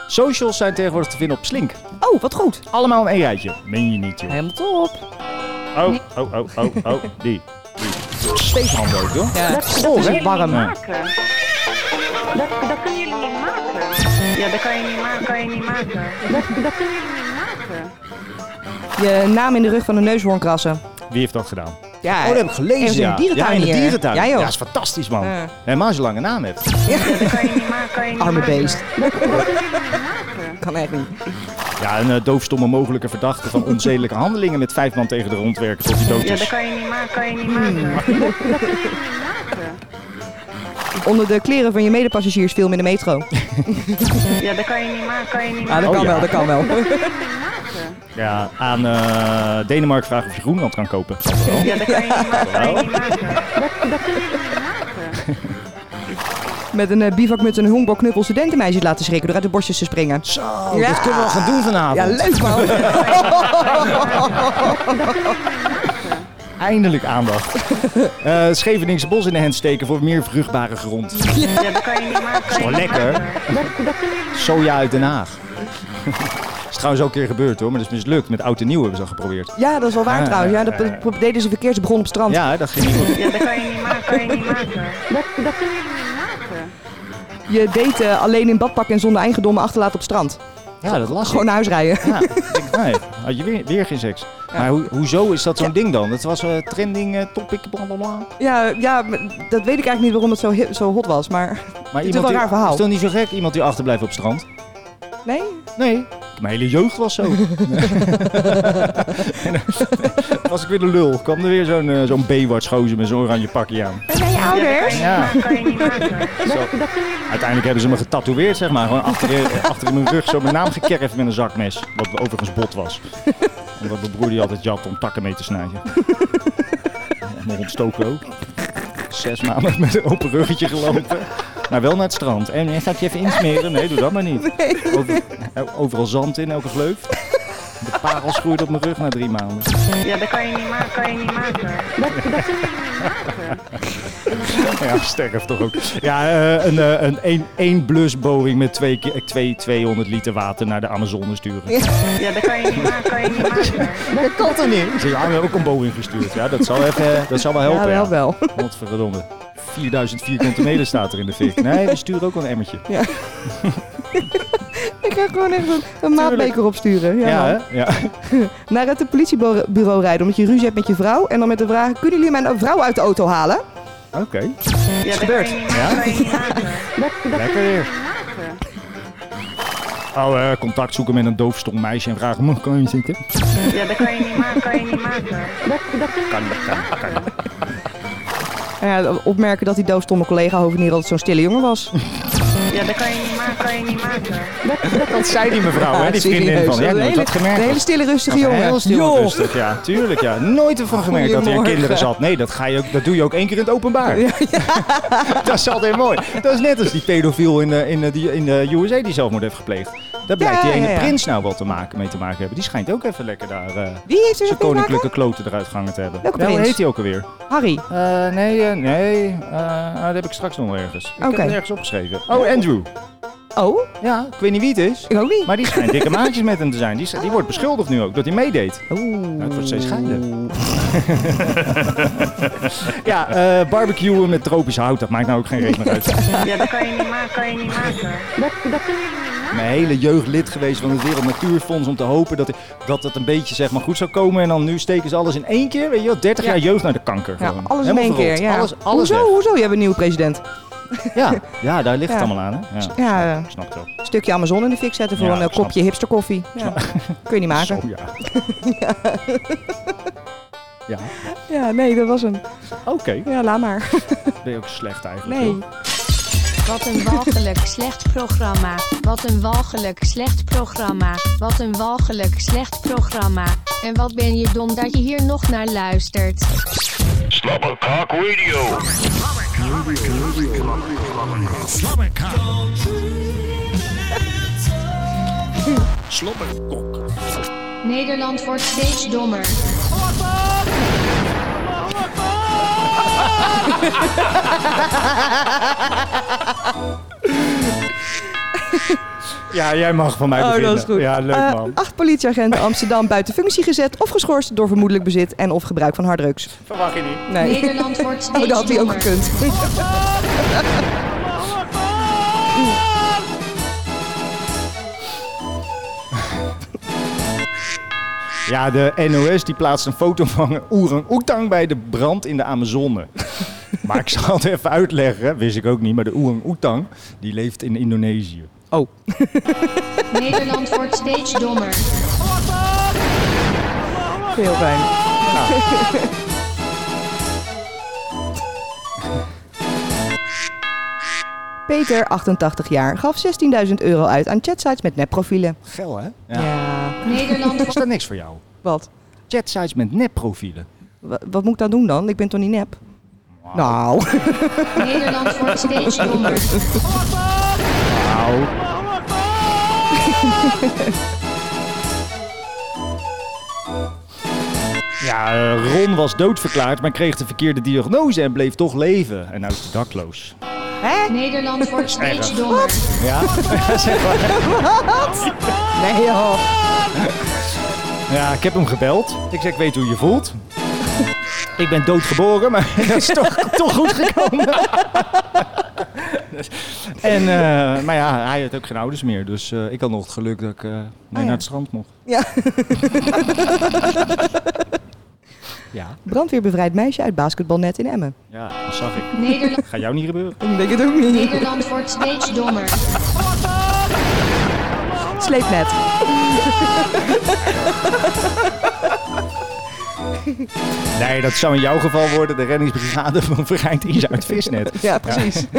[SPEAKER 3] socials zijn tegenwoordig te vinden op Slink.
[SPEAKER 4] Oh, wat goed.
[SPEAKER 3] Allemaal in een rijtje. Meen je niet, joh.
[SPEAKER 4] Helemaal top.
[SPEAKER 3] Oh, oh, oh, oh, oh, die. die. Steekhandel ook, joh.
[SPEAKER 12] Dat, dat
[SPEAKER 3] Goh,
[SPEAKER 12] kunnen
[SPEAKER 3] hè?
[SPEAKER 12] jullie niet
[SPEAKER 3] Ja.
[SPEAKER 12] maken. Dat, dat kunnen jullie niet maken. Ja, dat kan je niet, ma kan je niet maken. Dat, dat kunnen jullie niet maken.
[SPEAKER 4] Je naam in de rug van een neushoorn krassen.
[SPEAKER 3] Wie heeft dat gedaan?
[SPEAKER 4] Ja,
[SPEAKER 3] oh, dat heb ik gelezen.
[SPEAKER 4] ergens in
[SPEAKER 3] ja.
[SPEAKER 4] de dierentuin
[SPEAKER 3] ja, in de
[SPEAKER 4] hier.
[SPEAKER 3] dierentuin.
[SPEAKER 4] Ja, joh.
[SPEAKER 3] dat is fantastisch, man.
[SPEAKER 4] Ja.
[SPEAKER 3] Helemaal als je lange naam hebt.
[SPEAKER 4] Arme beest.
[SPEAKER 12] Kan
[SPEAKER 4] echt niet.
[SPEAKER 3] Ja, een eh, doofstomme mogelijke verdachte van onzedelijke handelingen met vijf man tegen de grond werken tot hij dood
[SPEAKER 12] Ja,
[SPEAKER 3] is.
[SPEAKER 12] dat kan je niet, ma kan je niet maken. Dat, dat kunnen jullie niet maken.
[SPEAKER 4] Onder de kleren van je medepassagiers film in de metro.
[SPEAKER 12] Ja, dat kan je niet, ma kan je niet
[SPEAKER 4] Ah,
[SPEAKER 12] maken.
[SPEAKER 4] dat kan wel, dat kan
[SPEAKER 3] Oh,
[SPEAKER 4] wel.
[SPEAKER 3] [LAUGHS] Ja, aan eh, Denemarken vragen of je Groenland kan kopen. Dat wel.
[SPEAKER 12] Ja, dat kan je niet, ma kan je
[SPEAKER 3] Wel.
[SPEAKER 12] niet maken. Dat, dat kunnen jullie niet maken.
[SPEAKER 4] Met een eh, bivakmuts en een honkbalknuppel studentenmeisjes laten schrikken door uit de borstjes te springen. Zo,
[SPEAKER 3] Oh, Dat kunnen we wel gaan doen vanavond.
[SPEAKER 4] Ja, leuk man.
[SPEAKER 3] [LAUGHS]
[SPEAKER 4] [LAUGHS]
[SPEAKER 3] Eindelijk
[SPEAKER 4] [LAUGHS]
[SPEAKER 3] aandacht. Eh Scheveningse bos in de hand steken voor meer vruchtbare grond.
[SPEAKER 12] Ja, dat kan je niet, ma kan
[SPEAKER 3] Dat is
[SPEAKER 12] je
[SPEAKER 3] wel
[SPEAKER 12] niet
[SPEAKER 3] lekker.
[SPEAKER 12] maken. Dat, dat kunnen jullie
[SPEAKER 3] Soja uit Den Haag. [LAUGHS] is trouwens ook een keer gebeurd hoor, maar dat is mislukt. Met oud en nieuw hebben ze dat geprobeerd.
[SPEAKER 4] Ja, dat is wel waar
[SPEAKER 3] Ah,
[SPEAKER 4] trouwens. Ja, dat
[SPEAKER 3] eh.
[SPEAKER 4] pro- deden ze verkeerd. Ze begonnen op het strand.
[SPEAKER 3] Ja, dat ging niet goed.
[SPEAKER 12] Ja, dat kan je niet, ma kan je niet maken. Dat, dat kunnen jullie niet maken.
[SPEAKER 4] Je date eh, alleen in badpak en zonder eigendommen achterlaten op het strand.
[SPEAKER 3] Ja, dat las ik.
[SPEAKER 4] Gewoon naar huis rijden. [LAUGHS]
[SPEAKER 3] Ja, ik denk, nee, had je weer, weer geen seks. Maar ho- hoezo is dat zo'n ding dan? Dat was eh, trending eh, topic, blablabla.
[SPEAKER 4] Ja, ja, maar dat weet ik eigenlijk niet waarom het zo, hi- zo hot was, maar, [LAUGHS] het is wel een
[SPEAKER 3] die-
[SPEAKER 4] raar verhaal.
[SPEAKER 3] is toch niet zo gek, iemand die achterblijft op het strand?
[SPEAKER 4] Nee?
[SPEAKER 3] Nee. Mijn hele jeugd was zo. en dan was ik weer de lul. Kwam er weer zo'n eh, zo'n Baywatch gozer met zo'n oranje pakje aan.
[SPEAKER 4] Zijn je ouders?
[SPEAKER 3] Ja.
[SPEAKER 12] Dat kan je niet, ma kan je niet maken.
[SPEAKER 3] [LAUGHS] Zo. Uiteindelijk hebben ze me getatoeëerd, zeg maar. Gewoon achter, eh, achter in mijn rug zo mijn naam gekerfd met een zakmes. Wat overigens bot was. Omdat mijn broer die altijd jat om takken mee te snijden. En nog ontstoken ook. Zes maanden met een open ruggetje gelopen. Maar wel naar het strand. En eh, ga ik je even insmeren? Nee, doe dat maar niet. Over- eh, overal zand in, elke gleuf. De parels groeiden op mijn rug na drie maanden.
[SPEAKER 12] Ja, dat kan je niet, ma kan je niet maken. Dat, dat kunnen jullie niet maken.
[SPEAKER 3] [LAUGHS] Ja, sterf toch ook. Ja, eh, een, eh, een, een, één blusbowing met twee, ki- eh, twee, 200 liter water naar de Amazone sturen.
[SPEAKER 12] Ja, dat kan je niet, ma kan je niet maken.
[SPEAKER 3] [LAUGHS] Dat kan toch niet? Ze hebben ook een Boeing gestuurd. Ja, dat zal, even, dat zal wel helpen.
[SPEAKER 4] Ja, wel, [LAUGHS]
[SPEAKER 3] Wat verdomme. 4000 vierkante meter staat er in de fik. Nee, we sturen ook wel een emmertje.
[SPEAKER 4] Ja. ik ga gewoon echt een, een maatbeker opsturen. Ja,
[SPEAKER 3] Ja,
[SPEAKER 4] man.
[SPEAKER 3] hè? ja.
[SPEAKER 4] Naar het politiebureau rijden omdat je ruzie hebt met je vrouw. En dan met de vraag, kunnen jullie mijn vrouw uit de auto halen?
[SPEAKER 3] Oké.
[SPEAKER 12] Ja, dat kan
[SPEAKER 4] gebeurd.
[SPEAKER 12] je niet,
[SPEAKER 3] Ja?
[SPEAKER 12] ma kan je niet maken. Dat, dat
[SPEAKER 3] Lekker
[SPEAKER 12] kunnen
[SPEAKER 3] weer.
[SPEAKER 12] jullie niet maken.
[SPEAKER 3] Oh, eh, contact zoeken met een doofstom meisje en vragen: Mag ik aan je zitten?
[SPEAKER 12] Ja, dat kan je niet, ma kan je niet maken. Dat, dat kunnen jullie niet maken.
[SPEAKER 4] En ja, opmerken dat die doofstomme collega Hovenier altijd zo'n stille jongen was.
[SPEAKER 12] Ja, dat kan je niet maken. Kan je niet maken.
[SPEAKER 3] Dat zei die mevrouw,
[SPEAKER 4] Ja,
[SPEAKER 3] hè, die vriendin
[SPEAKER 4] serieus.
[SPEAKER 3] van. Ja,
[SPEAKER 4] Een
[SPEAKER 3] die heeft
[SPEAKER 4] hele-
[SPEAKER 3] dat gemerkt.
[SPEAKER 4] een hele stille, rustige
[SPEAKER 3] Ja,
[SPEAKER 4] jongen. Dus-
[SPEAKER 3] Heel stil en
[SPEAKER 4] Joh.
[SPEAKER 3] rustig, ja. Tuurlijk, ja. Nooit ervan gemerkt dat hij aan
[SPEAKER 4] Goedemorgen.
[SPEAKER 3] kinderen zat. Nee, dat, ga je ook, dat doe je ook één keer in het openbaar. [LAUGHS] Dat is altijd mooi. Dat is net als die pedofiel in de, in de, die- in eh, de USA die zelfmoord heeft gepleegd. Daar blijkt die
[SPEAKER 4] ja,
[SPEAKER 3] ene
[SPEAKER 4] ja.
[SPEAKER 3] prins nou wat te maken, mee te maken hebben. Die schijnt ook even lekker daar eh,
[SPEAKER 4] Wie heeft er
[SPEAKER 3] zijn
[SPEAKER 4] zoveel
[SPEAKER 3] koninklijke kloten eruit gehangen te hebben.
[SPEAKER 4] Welke
[SPEAKER 3] Ja, hoe
[SPEAKER 4] prins?
[SPEAKER 3] heet hij ook alweer? Eh,
[SPEAKER 4] Harry.
[SPEAKER 3] nee, nee. eh, ah, dat heb ik straks nog ergens. Ik heb
[SPEAKER 4] Oké.
[SPEAKER 3] hem ergens opgeschreven. Oh, Andrew.
[SPEAKER 4] Oh?
[SPEAKER 3] Ja, ik weet niet wie het is.
[SPEAKER 4] Ik ook niet.
[SPEAKER 3] Maar die schijnt dikke maatjes met hem te zijn. Die, is- die wordt beschuldigd nu ook, dat hij meedeed. Nou,
[SPEAKER 4] Oeh.
[SPEAKER 3] het wordt steeds geile. [LAUGHS] ja, eh barbecuen met tropisch hout, dat maakt nou ook geen reet meer uit.
[SPEAKER 12] [LAUGHS] Ja, dat kan je niet maken. Kan je niet maken. Dat, dat kunnen jullie niet maken.
[SPEAKER 3] Mijn hele jeugd lid geweest van het Wereld Natuurfonds om te hopen dat, dat het een beetje zeg maar, goed zou komen. En dan nu steken ze alles in één keer. Weet je wel, 30 jaar jeugd naar de kanker.
[SPEAKER 4] Ja,
[SPEAKER 3] gewoon.
[SPEAKER 4] alles in
[SPEAKER 3] Helemaal
[SPEAKER 4] één keer.
[SPEAKER 3] verrot.
[SPEAKER 4] Ja.
[SPEAKER 3] Alles, alles
[SPEAKER 4] hoezo,
[SPEAKER 3] weg.
[SPEAKER 4] hoezo? Je hebt een nieuwe president.
[SPEAKER 3] Ja, ja daar ligt
[SPEAKER 4] Ja.
[SPEAKER 3] het allemaal aan. Hè? Ja,
[SPEAKER 4] Ja, eh,
[SPEAKER 3] ik snap het wel.
[SPEAKER 4] een stukje Amazon in de fik zetten voor
[SPEAKER 3] Ja,
[SPEAKER 4] een eh,
[SPEAKER 3] ik snap
[SPEAKER 4] kopje hipsterkoffie. Ja. Kun je niet maken.
[SPEAKER 3] Zo, ja. Ja,
[SPEAKER 4] Ja, nee, dat was hem.
[SPEAKER 3] oké.
[SPEAKER 4] Ja, laat [LAUGHS] maar. oh,
[SPEAKER 3] Ben je ook slecht eigenlijk.
[SPEAKER 11] Nee.
[SPEAKER 3] joh.
[SPEAKER 11] Wat een walgelijk slecht programma. Wat een walgelijk slecht programma. Wat een walgelijk slecht programma. En wat ben je dom dat je hier nog naar luistert.
[SPEAKER 2] Slobbercock Radio.
[SPEAKER 1] Slobberkok. Slobberkok.
[SPEAKER 11] Nederland wordt steeds dommer.
[SPEAKER 3] Ja, jij mag van mij
[SPEAKER 4] Oh,
[SPEAKER 3] beginnen.
[SPEAKER 4] dat is goed.
[SPEAKER 3] Ja, leuk
[SPEAKER 4] Eh,
[SPEAKER 3] man.
[SPEAKER 4] acht politieagenten Amsterdam buiten functie gezet of geschorst door vermoedelijk bezit en of gebruik van harddrugs.
[SPEAKER 5] Verwacht je niet.
[SPEAKER 4] Nee. [LAUGHS]
[SPEAKER 11] Nederland wordt
[SPEAKER 4] Oh,
[SPEAKER 11] steeds
[SPEAKER 4] dat had hij ook
[SPEAKER 11] dommer.
[SPEAKER 4] gekund.
[SPEAKER 3] Ja, de NOS die plaatst een foto van een oerang-oetang bij de brand in de Amazone. maar ik zal het even uitleggen, wist ik ook niet, maar de oerang-oetang die leeft in Indonesië.
[SPEAKER 4] Oh.
[SPEAKER 11] Nederland wordt steeds dommer.
[SPEAKER 4] Heel fijn. Peter, 88 jaar, gaf 16.000 euro uit aan chatsites met nepprofielen.
[SPEAKER 3] Gel hè?
[SPEAKER 11] Nederland
[SPEAKER 3] Is dat niks voor jou?
[SPEAKER 4] Wat?
[SPEAKER 3] Chatsites met nepprofielen.
[SPEAKER 4] Wa- Wat moet ik dan doen dan? Ik ben toch niet nep? Nou.
[SPEAKER 11] Nederland
[SPEAKER 4] [LAUGHS]
[SPEAKER 11] wordt steeds dommer.
[SPEAKER 3] Nou. [LAUGHS] Ja, eh, Ron was doodverklaard, maar kreeg de verkeerde diagnose en bleef toch leven. En nou is hij dakloos.
[SPEAKER 11] Nederland wordt steeds
[SPEAKER 3] Erg.
[SPEAKER 11] dommer.
[SPEAKER 3] Ja? zeg maar.
[SPEAKER 4] Wat? Nee joh.
[SPEAKER 3] Ja, ik heb hem gebeld. Ik zeg, ik weet hoe je voelt. Ik ben doodgeboren, maar [LAUGHS] dat is toch, toch goed gekomen. [LAUGHS] en, eh, maar ja, hij had ook geen ouders meer. Dus eh, ik had nog het geluk dat ik eh, mee
[SPEAKER 4] Oh ja.
[SPEAKER 3] naar het strand mocht.
[SPEAKER 4] Ja.
[SPEAKER 3] Ja.
[SPEAKER 4] Brandweer bevrijdt meisje uit basketbalnet in Emmen.
[SPEAKER 3] Ja, dat zag ik.
[SPEAKER 11] Nederland,
[SPEAKER 3] Ga jou niet gebeuren.
[SPEAKER 4] Ik denk het ook niet.
[SPEAKER 11] Nederland wordt steeds dommer.
[SPEAKER 4] Sleepnet.
[SPEAKER 3] Nee, dat zou in jouw geval worden de reddingsbrigade van Vereind Isa uit Visnet.
[SPEAKER 4] Ja, precies. [LAUGHS]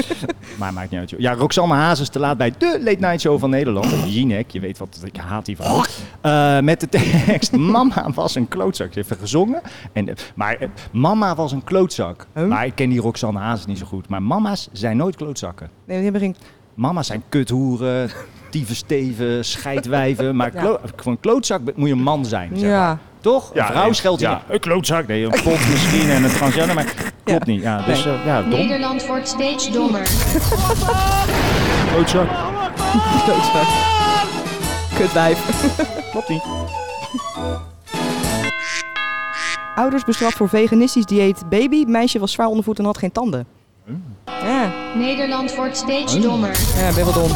[SPEAKER 3] Maar maakt niet uit. joh. Ja, Roxanne Hazes te laat bij de Late Night Show van Nederland. Jinek, je weet wat ik haat die van. Eh, met de tekst [LAUGHS] Mama was een klootzak. Ze heeft er gezongen. En, eh, maar eh, Mama was een klootzak. Maar ik ken die Roxanne Hazes niet zo goed. Maar mama's zijn nooit klootzakken.
[SPEAKER 4] Nee, die hebben geen...
[SPEAKER 3] Mama's zijn kuthoeren, dievensteven, scheidwijven.
[SPEAKER 4] [LAUGHS]
[SPEAKER 3] Maar klo- voor een klootzak be- moet je een man zijn, zeg maar.
[SPEAKER 4] Ja.
[SPEAKER 3] Toch?
[SPEAKER 5] Ja,
[SPEAKER 3] een vrouw
[SPEAKER 5] nee.
[SPEAKER 3] scheldt je
[SPEAKER 5] Ja.
[SPEAKER 3] niet. Een klootzak. Nee, een pop misschien en een transgender. Maar klopt niet. Ja, dus
[SPEAKER 4] Nee.
[SPEAKER 3] eh, ja, dom.
[SPEAKER 11] Nederland wordt steeds dommer.
[SPEAKER 3] Klootzak.
[SPEAKER 4] Klootzak. Kutwijf.
[SPEAKER 3] Klopt niet.
[SPEAKER 4] Ouders bestraft voor veganistisch dieet baby. Meisje was zwaar ondervoed en had geen tanden. Mm. Ja,
[SPEAKER 11] Nederland wordt steeds dommer.
[SPEAKER 4] ja ben wel dom.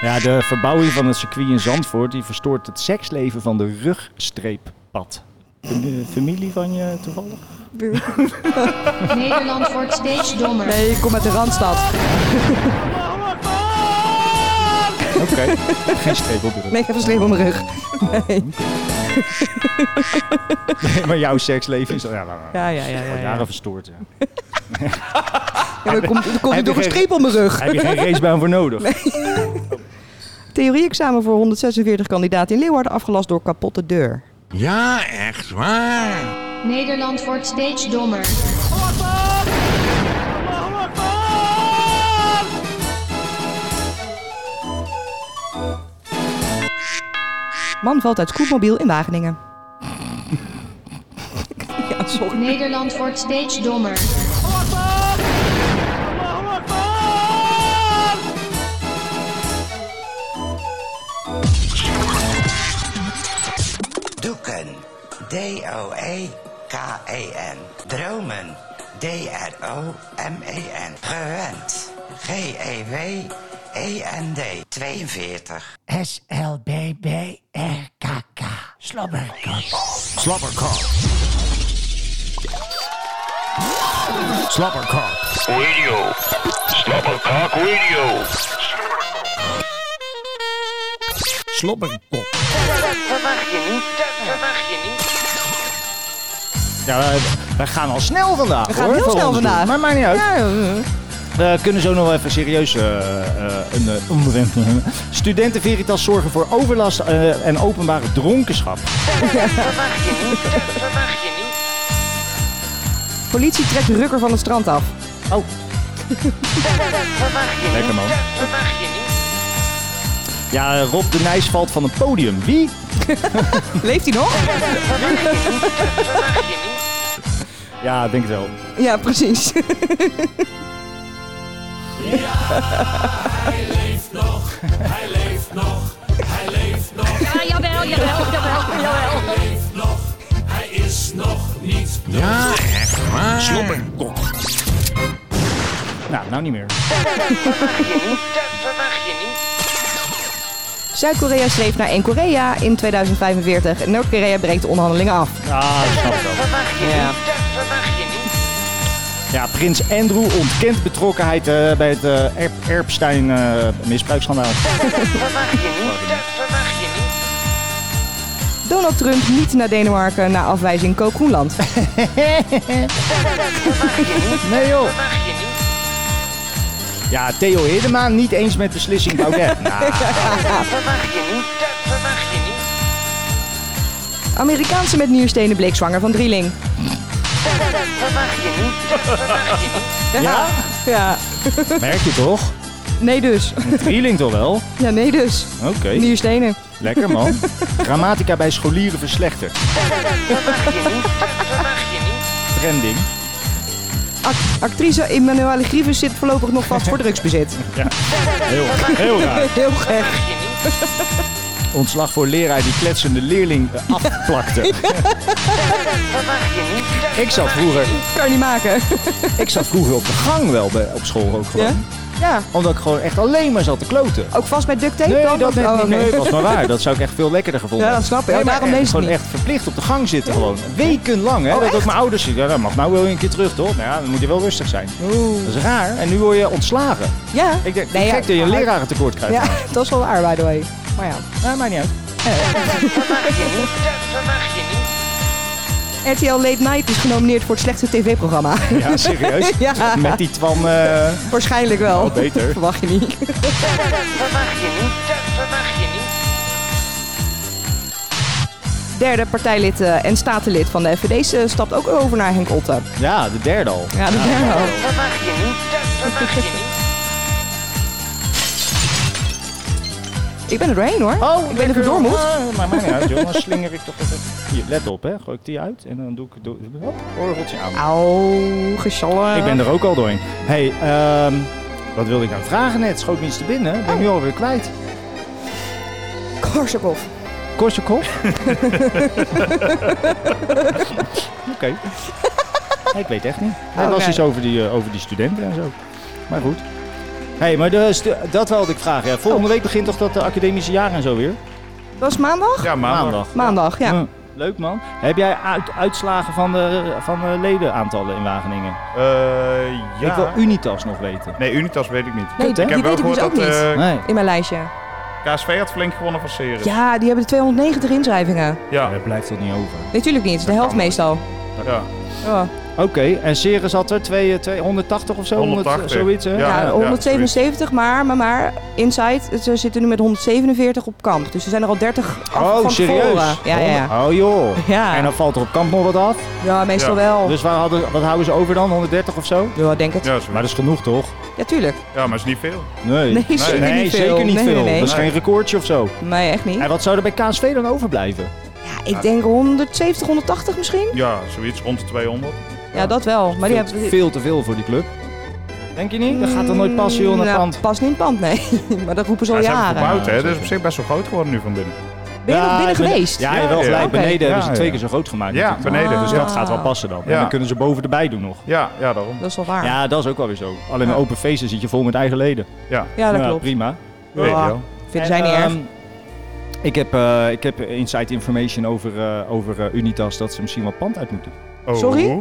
[SPEAKER 3] Ja, de verbouwing van het circuit in Zandvoort die verstoort het seksleven van de rugstreeppad. De familie van je [LAUGHS] toevallig?
[SPEAKER 11] Nederland wordt steeds dommer.
[SPEAKER 4] Nee, ik kom uit de Randstad.
[SPEAKER 3] Oké, geen streep op de rug.
[SPEAKER 4] Nee, ik heb een sleep om mijn rug. Nee.
[SPEAKER 3] Nee, maar jouw seksleven is... al- Ja, nou, nou,
[SPEAKER 4] Ja, ja, ja, ja,
[SPEAKER 3] al
[SPEAKER 4] ja.
[SPEAKER 3] jaren verstoord, ja.
[SPEAKER 4] Ja, maar er komt, er komt nu
[SPEAKER 3] Heb je
[SPEAKER 4] toch een
[SPEAKER 3] geen-
[SPEAKER 4] streep op mijn rug.
[SPEAKER 3] Heb je geen racebaan voor nodig?
[SPEAKER 4] Theorie-examen voor 146 kandidaten in Leeuwarden afgelast door kapotte deur.
[SPEAKER 14] Ja, echt waar.
[SPEAKER 11] Nederland wordt steeds dommer.
[SPEAKER 4] Man valt uit scootmobiel in Wageningen. [LAUGHS]
[SPEAKER 11] Nederland wordt steeds dommer.
[SPEAKER 15] Doeken. E D-O-E-K-E-N. E Dromen. D-R-O-M-E-N. E Gewend. E G-E-W-E-N-D. 42.
[SPEAKER 13] S-L-B-B-R-K-K. Slobberkok.
[SPEAKER 14] Slobberkok. Slobberkok.
[SPEAKER 2] Radio. Slobberkok Radio.
[SPEAKER 14] Slobberkok.
[SPEAKER 2] Verwacht je niet, dat verwacht je niet.
[SPEAKER 3] Ja, wij, wij gaan al snel vandaag.
[SPEAKER 4] We gaan
[SPEAKER 3] hoor,
[SPEAKER 4] heel
[SPEAKER 3] voor
[SPEAKER 4] snel
[SPEAKER 3] ons doen.
[SPEAKER 4] vandaag.
[SPEAKER 3] Maar maakt niet uit.
[SPEAKER 4] Ja, eh,
[SPEAKER 3] We kunnen zo nog wel even serieus eh, eh, een eh, onderwerp nemen. [LAUGHS] Studenten Veritas zorgen voor overlast eh, en openbare dronkenschap.
[SPEAKER 2] Verwacht je niet, dat verwacht je niet.
[SPEAKER 4] politie trekt de rukker van het strand af.
[SPEAKER 3] Oh.
[SPEAKER 2] Verwacht je
[SPEAKER 3] Lekker,
[SPEAKER 2] niet,
[SPEAKER 3] man.
[SPEAKER 2] dat verwacht je niet.
[SPEAKER 3] Ja, eh, Rob de Nijs valt van een podium. Wie?
[SPEAKER 4] Leeft hij nog?
[SPEAKER 3] Ja, ik denk het wel.
[SPEAKER 4] Ja, precies.
[SPEAKER 13] Hij leeft nog, hij leeft nog, hij leeft nog.
[SPEAKER 2] Ja, jawel, jawel, jawel, jawel.
[SPEAKER 13] Hij leeft nog, hij is nog niet dood.
[SPEAKER 14] Ja, echt waar.
[SPEAKER 3] Slobberkok. Nou, nou niet meer.
[SPEAKER 4] Zuid-Korea streeft naar één Korea in 2045. En Noord-Korea breekt de onderhandelingen af.
[SPEAKER 3] Ah, dat snap ik wel.
[SPEAKER 4] Ja.
[SPEAKER 3] Ja, prins Andrew ontkent betrokkenheid eh, bij het eh, Erp- Erpstein eh misbruiksschandaal.
[SPEAKER 4] Donald Trump niet naar Denemarken na afwijzing Koop Groenland.
[SPEAKER 3] nee joh. Ja, Theo Hiddema niet eens met beslissing [LAUGHS] Baudet. Nou,
[SPEAKER 4] Amerikaanse met nierstenen bleek zwanger van drieling.
[SPEAKER 3] Ja?
[SPEAKER 4] Ja.
[SPEAKER 3] merk je toch?
[SPEAKER 4] Nee dus.
[SPEAKER 3] Een drieling toch wel?
[SPEAKER 4] Ja, nee dus.
[SPEAKER 3] Oké.
[SPEAKER 4] Nierstenen.
[SPEAKER 3] Lekker man. Grammatica bij scholieren verslechterd. Trending.
[SPEAKER 4] Ac- actrice Emmanuele Grievous zit voorlopig nog vast voor drugsbezit.
[SPEAKER 3] [LAUGHS] Ja. Heel, heel raar.
[SPEAKER 4] [LAUGHS] Heel gek.
[SPEAKER 3] Ontslag voor leraar die kletsende leerling eh, [LAUGHS] afplakte. Ik zat vroeger,
[SPEAKER 4] Kan niet maken.
[SPEAKER 3] ik zat vroeger op de gang wel bij, op school ook gewoon.
[SPEAKER 4] Ja? Ja,
[SPEAKER 3] Omdat ik gewoon echt alleen maar zat te kloten.
[SPEAKER 4] ook vast bij duct tape
[SPEAKER 3] Nee,
[SPEAKER 4] dan?
[SPEAKER 3] dat
[SPEAKER 4] Of-
[SPEAKER 3] net
[SPEAKER 4] oh,
[SPEAKER 3] niet.
[SPEAKER 4] oké.
[SPEAKER 3] Nee, was maar waar. Dat zou ik echt veel lekkerder gevonden
[SPEAKER 4] Ja, dat
[SPEAKER 3] hebben.
[SPEAKER 4] snap ik. Oh,
[SPEAKER 3] maar
[SPEAKER 4] daarom
[SPEAKER 3] echt,
[SPEAKER 4] deed ik het
[SPEAKER 3] Gewoon
[SPEAKER 4] niet.
[SPEAKER 3] echt verplicht op de gang zitten gewoon. Wekenlang, hè.
[SPEAKER 4] Oh,
[SPEAKER 3] dat ook
[SPEAKER 4] echt?
[SPEAKER 3] mijn ouders zeiden, ja, dat mag nou wel een keer terug, toch? Nou ja, dan moet je wel rustig zijn.
[SPEAKER 4] Oeh.
[SPEAKER 3] Dat is raar. En nu word je ontslagen.
[SPEAKER 4] Ja.
[SPEAKER 3] Ik denk,
[SPEAKER 4] Nee, ja,
[SPEAKER 3] gek dat je een
[SPEAKER 4] maar-
[SPEAKER 3] lerarentekort krijgt.
[SPEAKER 4] Ja, dat is wel waar, by the way. Maar ja. eh,
[SPEAKER 3] Ja, maakt niet uit.
[SPEAKER 5] [LAUGHS]
[SPEAKER 4] RTL Late Night is genomineerd voor het slechtste tv-programma.
[SPEAKER 3] [LAUGHS] Ja, serieus?
[SPEAKER 4] ja,
[SPEAKER 3] Met die Twan... eh,
[SPEAKER 4] [LAUGHS] waarschijnlijk wel.
[SPEAKER 3] Oh, beter.
[SPEAKER 4] [LAUGHS] Verwacht je niet. Derde partijlid eh, en statenlid van de FVD eh, stapt ook over naar Henk Otten.
[SPEAKER 3] Ja, de derde al.
[SPEAKER 4] Ja, de derde al. Ik ben er doorheen hoor.
[SPEAKER 3] Oh,
[SPEAKER 4] ik weet niet of ik door moet.
[SPEAKER 3] Ah, maar maakt niet uit, joh. Dan slinger ik toch even... Hier, let op, hè. Gooi ik die uit en dan doe ik... Doe, hop, orgeltje aan.
[SPEAKER 4] Auw, gesjallen.
[SPEAKER 3] Ik ben er ook al doorheen. hey, ehm, wat wilde ik aan vragen net? Schoot me iets te binnen. Ben ik nu alweer kwijt.
[SPEAKER 4] Korsakov.
[SPEAKER 5] [LAUGHS]
[SPEAKER 3] Korsakov? Oké.
[SPEAKER 5] [LAUGHS]
[SPEAKER 3] Nee, ik weet echt niet. Het
[SPEAKER 4] Oké.
[SPEAKER 3] was iets over die, eh, over die studenten en zo. Maar goed. hey, maar de stu- dat wilde ik vragen. Ja.
[SPEAKER 5] Oh.
[SPEAKER 3] Volgende week begint toch dat eh, academische jaar en zo weer?
[SPEAKER 4] Dat is maandag?
[SPEAKER 5] Ja, maandag.
[SPEAKER 4] Maandag, ja.
[SPEAKER 3] Hm, Leuk man. Heb jij uit- uitslagen van de, van de ledenaantallen in Wageningen?
[SPEAKER 5] Eh, ja.
[SPEAKER 3] Ik wil Unitas nog weten.
[SPEAKER 5] Nee, Unitas weet ik niet.
[SPEAKER 4] Nee,
[SPEAKER 3] Kut, hè?
[SPEAKER 4] die
[SPEAKER 5] Ik heb wel
[SPEAKER 4] weet ik dus
[SPEAKER 5] gehoord
[SPEAKER 4] ook
[SPEAKER 5] dat, eh,
[SPEAKER 4] niet.
[SPEAKER 3] Nee.
[SPEAKER 4] In mijn lijstje.
[SPEAKER 5] KSV had flink gewonnen van Serus.
[SPEAKER 4] Ja, die hebben 290 inschrijvingen.
[SPEAKER 5] Ja.
[SPEAKER 3] Dat blijft toch niet over.
[SPEAKER 4] Natuurlijk niet, de helft meestal.
[SPEAKER 5] Ja.
[SPEAKER 4] Oh, Ja.
[SPEAKER 3] Oké, en Ceres had er twee, twee, 180 of zo?
[SPEAKER 5] 180.
[SPEAKER 3] zoiets, hè?
[SPEAKER 4] Ja,
[SPEAKER 5] ja,
[SPEAKER 4] 177, maar, maar, maar Inside, ze zitten nu met 147 op kamp. Dus er zijn er al 30 af
[SPEAKER 3] Oh,
[SPEAKER 4] van
[SPEAKER 3] serieus?
[SPEAKER 4] tevoren. Ja, ja, ja.
[SPEAKER 3] Oh joh.
[SPEAKER 4] Ja. Oh.
[SPEAKER 3] En dan valt er op kamp nog wat af?
[SPEAKER 4] Ja, meestal wel.
[SPEAKER 3] Dus waar hadden, wat houden ze over dan? 130 of zo?
[SPEAKER 4] Ja, denk het.
[SPEAKER 3] maar dat is genoeg toch?
[SPEAKER 4] Ja, tuurlijk.
[SPEAKER 5] Ja, maar is niet veel.
[SPEAKER 3] Nee,
[SPEAKER 4] Nee, zeker niet veel.
[SPEAKER 3] zeker niet
[SPEAKER 4] Nee, nee,
[SPEAKER 3] veel.
[SPEAKER 4] nee.
[SPEAKER 3] Dat is geen recordje of zo.
[SPEAKER 4] Nee, echt niet.
[SPEAKER 3] En wat zou er bij KSV dan overblijven?
[SPEAKER 4] Ik denk 170, 180 misschien?
[SPEAKER 5] Ja, zoiets rond de 200.
[SPEAKER 4] Ja, dat wel. Maar die
[SPEAKER 3] veel,
[SPEAKER 4] hebben...
[SPEAKER 3] veel te veel voor die club. Denk je niet? Dat gaat dan nooit passen, joh, naar
[SPEAKER 4] Nou,
[SPEAKER 3] pand.
[SPEAKER 4] Past niet in het pand, nee. [LAUGHS] maar dat roepen ze al
[SPEAKER 5] Ja, ze hebben
[SPEAKER 4] jaren.
[SPEAKER 5] gebouwd, hè? Dat is op zich best wel groot geworden nu van binnen.
[SPEAKER 4] Ben je nog binnen
[SPEAKER 3] ben-
[SPEAKER 4] geweest?
[SPEAKER 3] Ja, wel gelijk.
[SPEAKER 5] Oké.
[SPEAKER 3] Beneden hebben ze
[SPEAKER 5] Ja,
[SPEAKER 3] twee
[SPEAKER 5] ja.
[SPEAKER 3] keer zo groot gemaakt.
[SPEAKER 5] Ja,
[SPEAKER 3] natuurlijk.
[SPEAKER 5] beneden.
[SPEAKER 3] Dus
[SPEAKER 5] Ah.
[SPEAKER 3] dat gaat wel passen dan.
[SPEAKER 5] Ja.
[SPEAKER 3] En dan kunnen ze boven erbij doen nog.
[SPEAKER 5] Ja, ja daarom.
[SPEAKER 4] Dat is wel waar.
[SPEAKER 3] Ja, dat is ook wel weer zo. Alleen
[SPEAKER 4] Ah. Ja.
[SPEAKER 3] bij open feesten zit je vol met eigen leden.
[SPEAKER 5] Ja,
[SPEAKER 4] Ja, dat klopt.
[SPEAKER 3] Prima.
[SPEAKER 4] Ja, Weet je wel. vinden zij
[SPEAKER 3] ehm,
[SPEAKER 4] niet erg.
[SPEAKER 3] Ik heb, eh, ik heb inside information over, eh, over eh, Unitas dat ze misschien wat pand uit moeten.
[SPEAKER 5] Oh.
[SPEAKER 4] Sorry? Oh,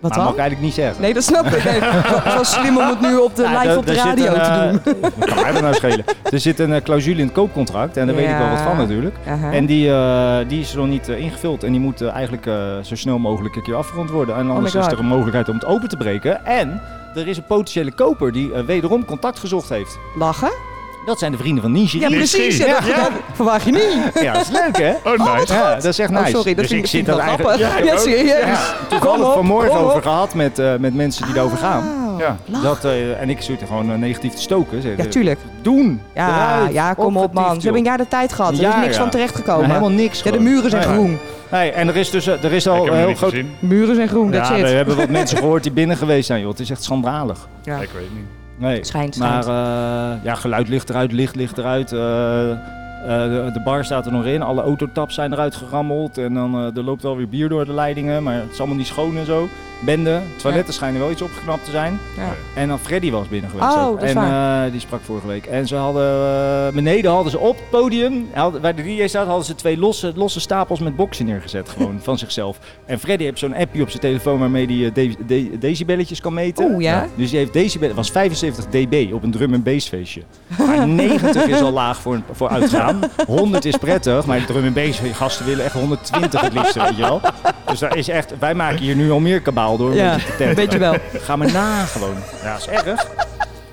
[SPEAKER 4] Wat
[SPEAKER 3] maar
[SPEAKER 4] dan?
[SPEAKER 3] mag ik eigenlijk niet zeggen.
[SPEAKER 4] Nee, dat snap ik. Nee, het was slim om het nu op de,
[SPEAKER 3] Nou,
[SPEAKER 4] live op de radio
[SPEAKER 3] eh,
[SPEAKER 4] te doen.
[SPEAKER 3] doen. Wat kan mij [LAUGHS] dat nou schelen? Er zit een eh, clausule in het koopcontract en daar weet ik wel wat
[SPEAKER 4] Ja. Uh-huh.
[SPEAKER 3] van natuurlijk.
[SPEAKER 4] Aha.
[SPEAKER 3] En die, eh, die is er nog niet eh, ingevuld en die moet eh, eigenlijk eh, zo snel mogelijk een keer afgerond worden. En anders is
[SPEAKER 4] Oh God.
[SPEAKER 3] er een mogelijkheid om het open te breken. En er is een potentiële koper die eh, wederom contact gezocht heeft.
[SPEAKER 4] Lachen?
[SPEAKER 3] Dat zijn de vrienden van Nishi.
[SPEAKER 4] Ja, precies. Ja, dat, dat verwacht je niet.
[SPEAKER 3] Ja, dat is
[SPEAKER 4] [LAUGHS]
[SPEAKER 3] leuk, hè?
[SPEAKER 5] Oh,
[SPEAKER 4] wat goed.
[SPEAKER 3] Ja, dat is echt
[SPEAKER 4] Oh,
[SPEAKER 3] nice.
[SPEAKER 4] sorry,
[SPEAKER 3] dus
[SPEAKER 4] dat
[SPEAKER 3] ik
[SPEAKER 4] vind
[SPEAKER 3] zit
[SPEAKER 4] ik- vind ik wel
[SPEAKER 3] dat eigenlijk...
[SPEAKER 4] grappig.
[SPEAKER 3] ik
[SPEAKER 4] Ja,
[SPEAKER 3] ook.
[SPEAKER 4] serieus.
[SPEAKER 3] Dus
[SPEAKER 4] Kom
[SPEAKER 3] Toevallig
[SPEAKER 4] op,
[SPEAKER 3] vanmorgen
[SPEAKER 4] kom
[SPEAKER 3] over
[SPEAKER 4] op. Ah.
[SPEAKER 3] gehad met, eh, met mensen die erover gaan.
[SPEAKER 5] Ja.
[SPEAKER 3] Dat, eh, en ik zit er gewoon eh, negatief te stoken. Zeg.
[SPEAKER 4] Ja, tuurlijk.
[SPEAKER 3] Doen.
[SPEAKER 4] Ja,
[SPEAKER 3] Eruit.
[SPEAKER 4] ja, kom op
[SPEAKER 3] Opgetiefd,
[SPEAKER 4] man. Ze
[SPEAKER 3] joh.
[SPEAKER 4] hebben een jaar de tijd gehad. Er is
[SPEAKER 3] Ja,
[SPEAKER 4] niks
[SPEAKER 3] ja.
[SPEAKER 4] van terechtgekomen.
[SPEAKER 3] Nee, helemaal niks.
[SPEAKER 4] Ja, de
[SPEAKER 3] gewoon.
[SPEAKER 4] muren zijn
[SPEAKER 3] Nee.
[SPEAKER 4] groen.
[SPEAKER 3] Nee, en er is dus eh, er is
[SPEAKER 5] Ik
[SPEAKER 3] al
[SPEAKER 5] heb
[SPEAKER 3] een
[SPEAKER 5] hem
[SPEAKER 3] heel
[SPEAKER 5] niet
[SPEAKER 3] groot...
[SPEAKER 5] gezien.
[SPEAKER 4] Muren zijn groen, dat
[SPEAKER 3] Ja,
[SPEAKER 4] zit.
[SPEAKER 3] er hebben wat [LAUGHS] mensen gehoord die binnen geweest zijn, joh. Het is echt schandalig.
[SPEAKER 4] Ja.
[SPEAKER 5] Ik weet niet.
[SPEAKER 3] Nee.
[SPEAKER 4] Schijnt,
[SPEAKER 3] Maar
[SPEAKER 4] schijnt.
[SPEAKER 3] eh, ja, geluid ligt eruit, licht ligt eruit. eh, eh, de, de bar staat er nog in, alle autotaps zijn eruit gerammeld. En dan eh, er loopt wel weer bier door de leidingen, maar het is allemaal niet schoon en zo. Bende, toiletten schijnen wel iets opgeknapt te zijn.
[SPEAKER 4] Ja.
[SPEAKER 3] En dan Freddy was binnen geweest.
[SPEAKER 4] Oh,
[SPEAKER 3] ook.
[SPEAKER 4] dat is
[SPEAKER 3] en
[SPEAKER 4] waar.
[SPEAKER 3] eh, die sprak vorige week. En ze hadden eh, beneden hadden ze op het podium, hadden, waar de DJ staat, hadden ze twee losse, losse stapels met boksen neergezet. Gewoon
[SPEAKER 4] [LAUGHS]
[SPEAKER 3] van zichzelf. En Freddy heeft zo'n appje op zijn telefoon waarmee hij eh, de- de- decibelletjes kan meten.
[SPEAKER 4] Oeh, ja?
[SPEAKER 3] Dus die heeft decibel, het was 75 dB op een drum en bass feestje.
[SPEAKER 4] [LAUGHS]
[SPEAKER 3] Maar 90 is al laag voor, voor uitgaan. 100 is prettig, maar de drum en bass gasten willen echt 120 het liefst, weet je wel. Dus daar is echt, wij maken hier nu al meer kabaal door.
[SPEAKER 4] Ja,
[SPEAKER 3] een
[SPEAKER 4] weet je wel.
[SPEAKER 3] Ga maar na gewoon. Ja, is erg.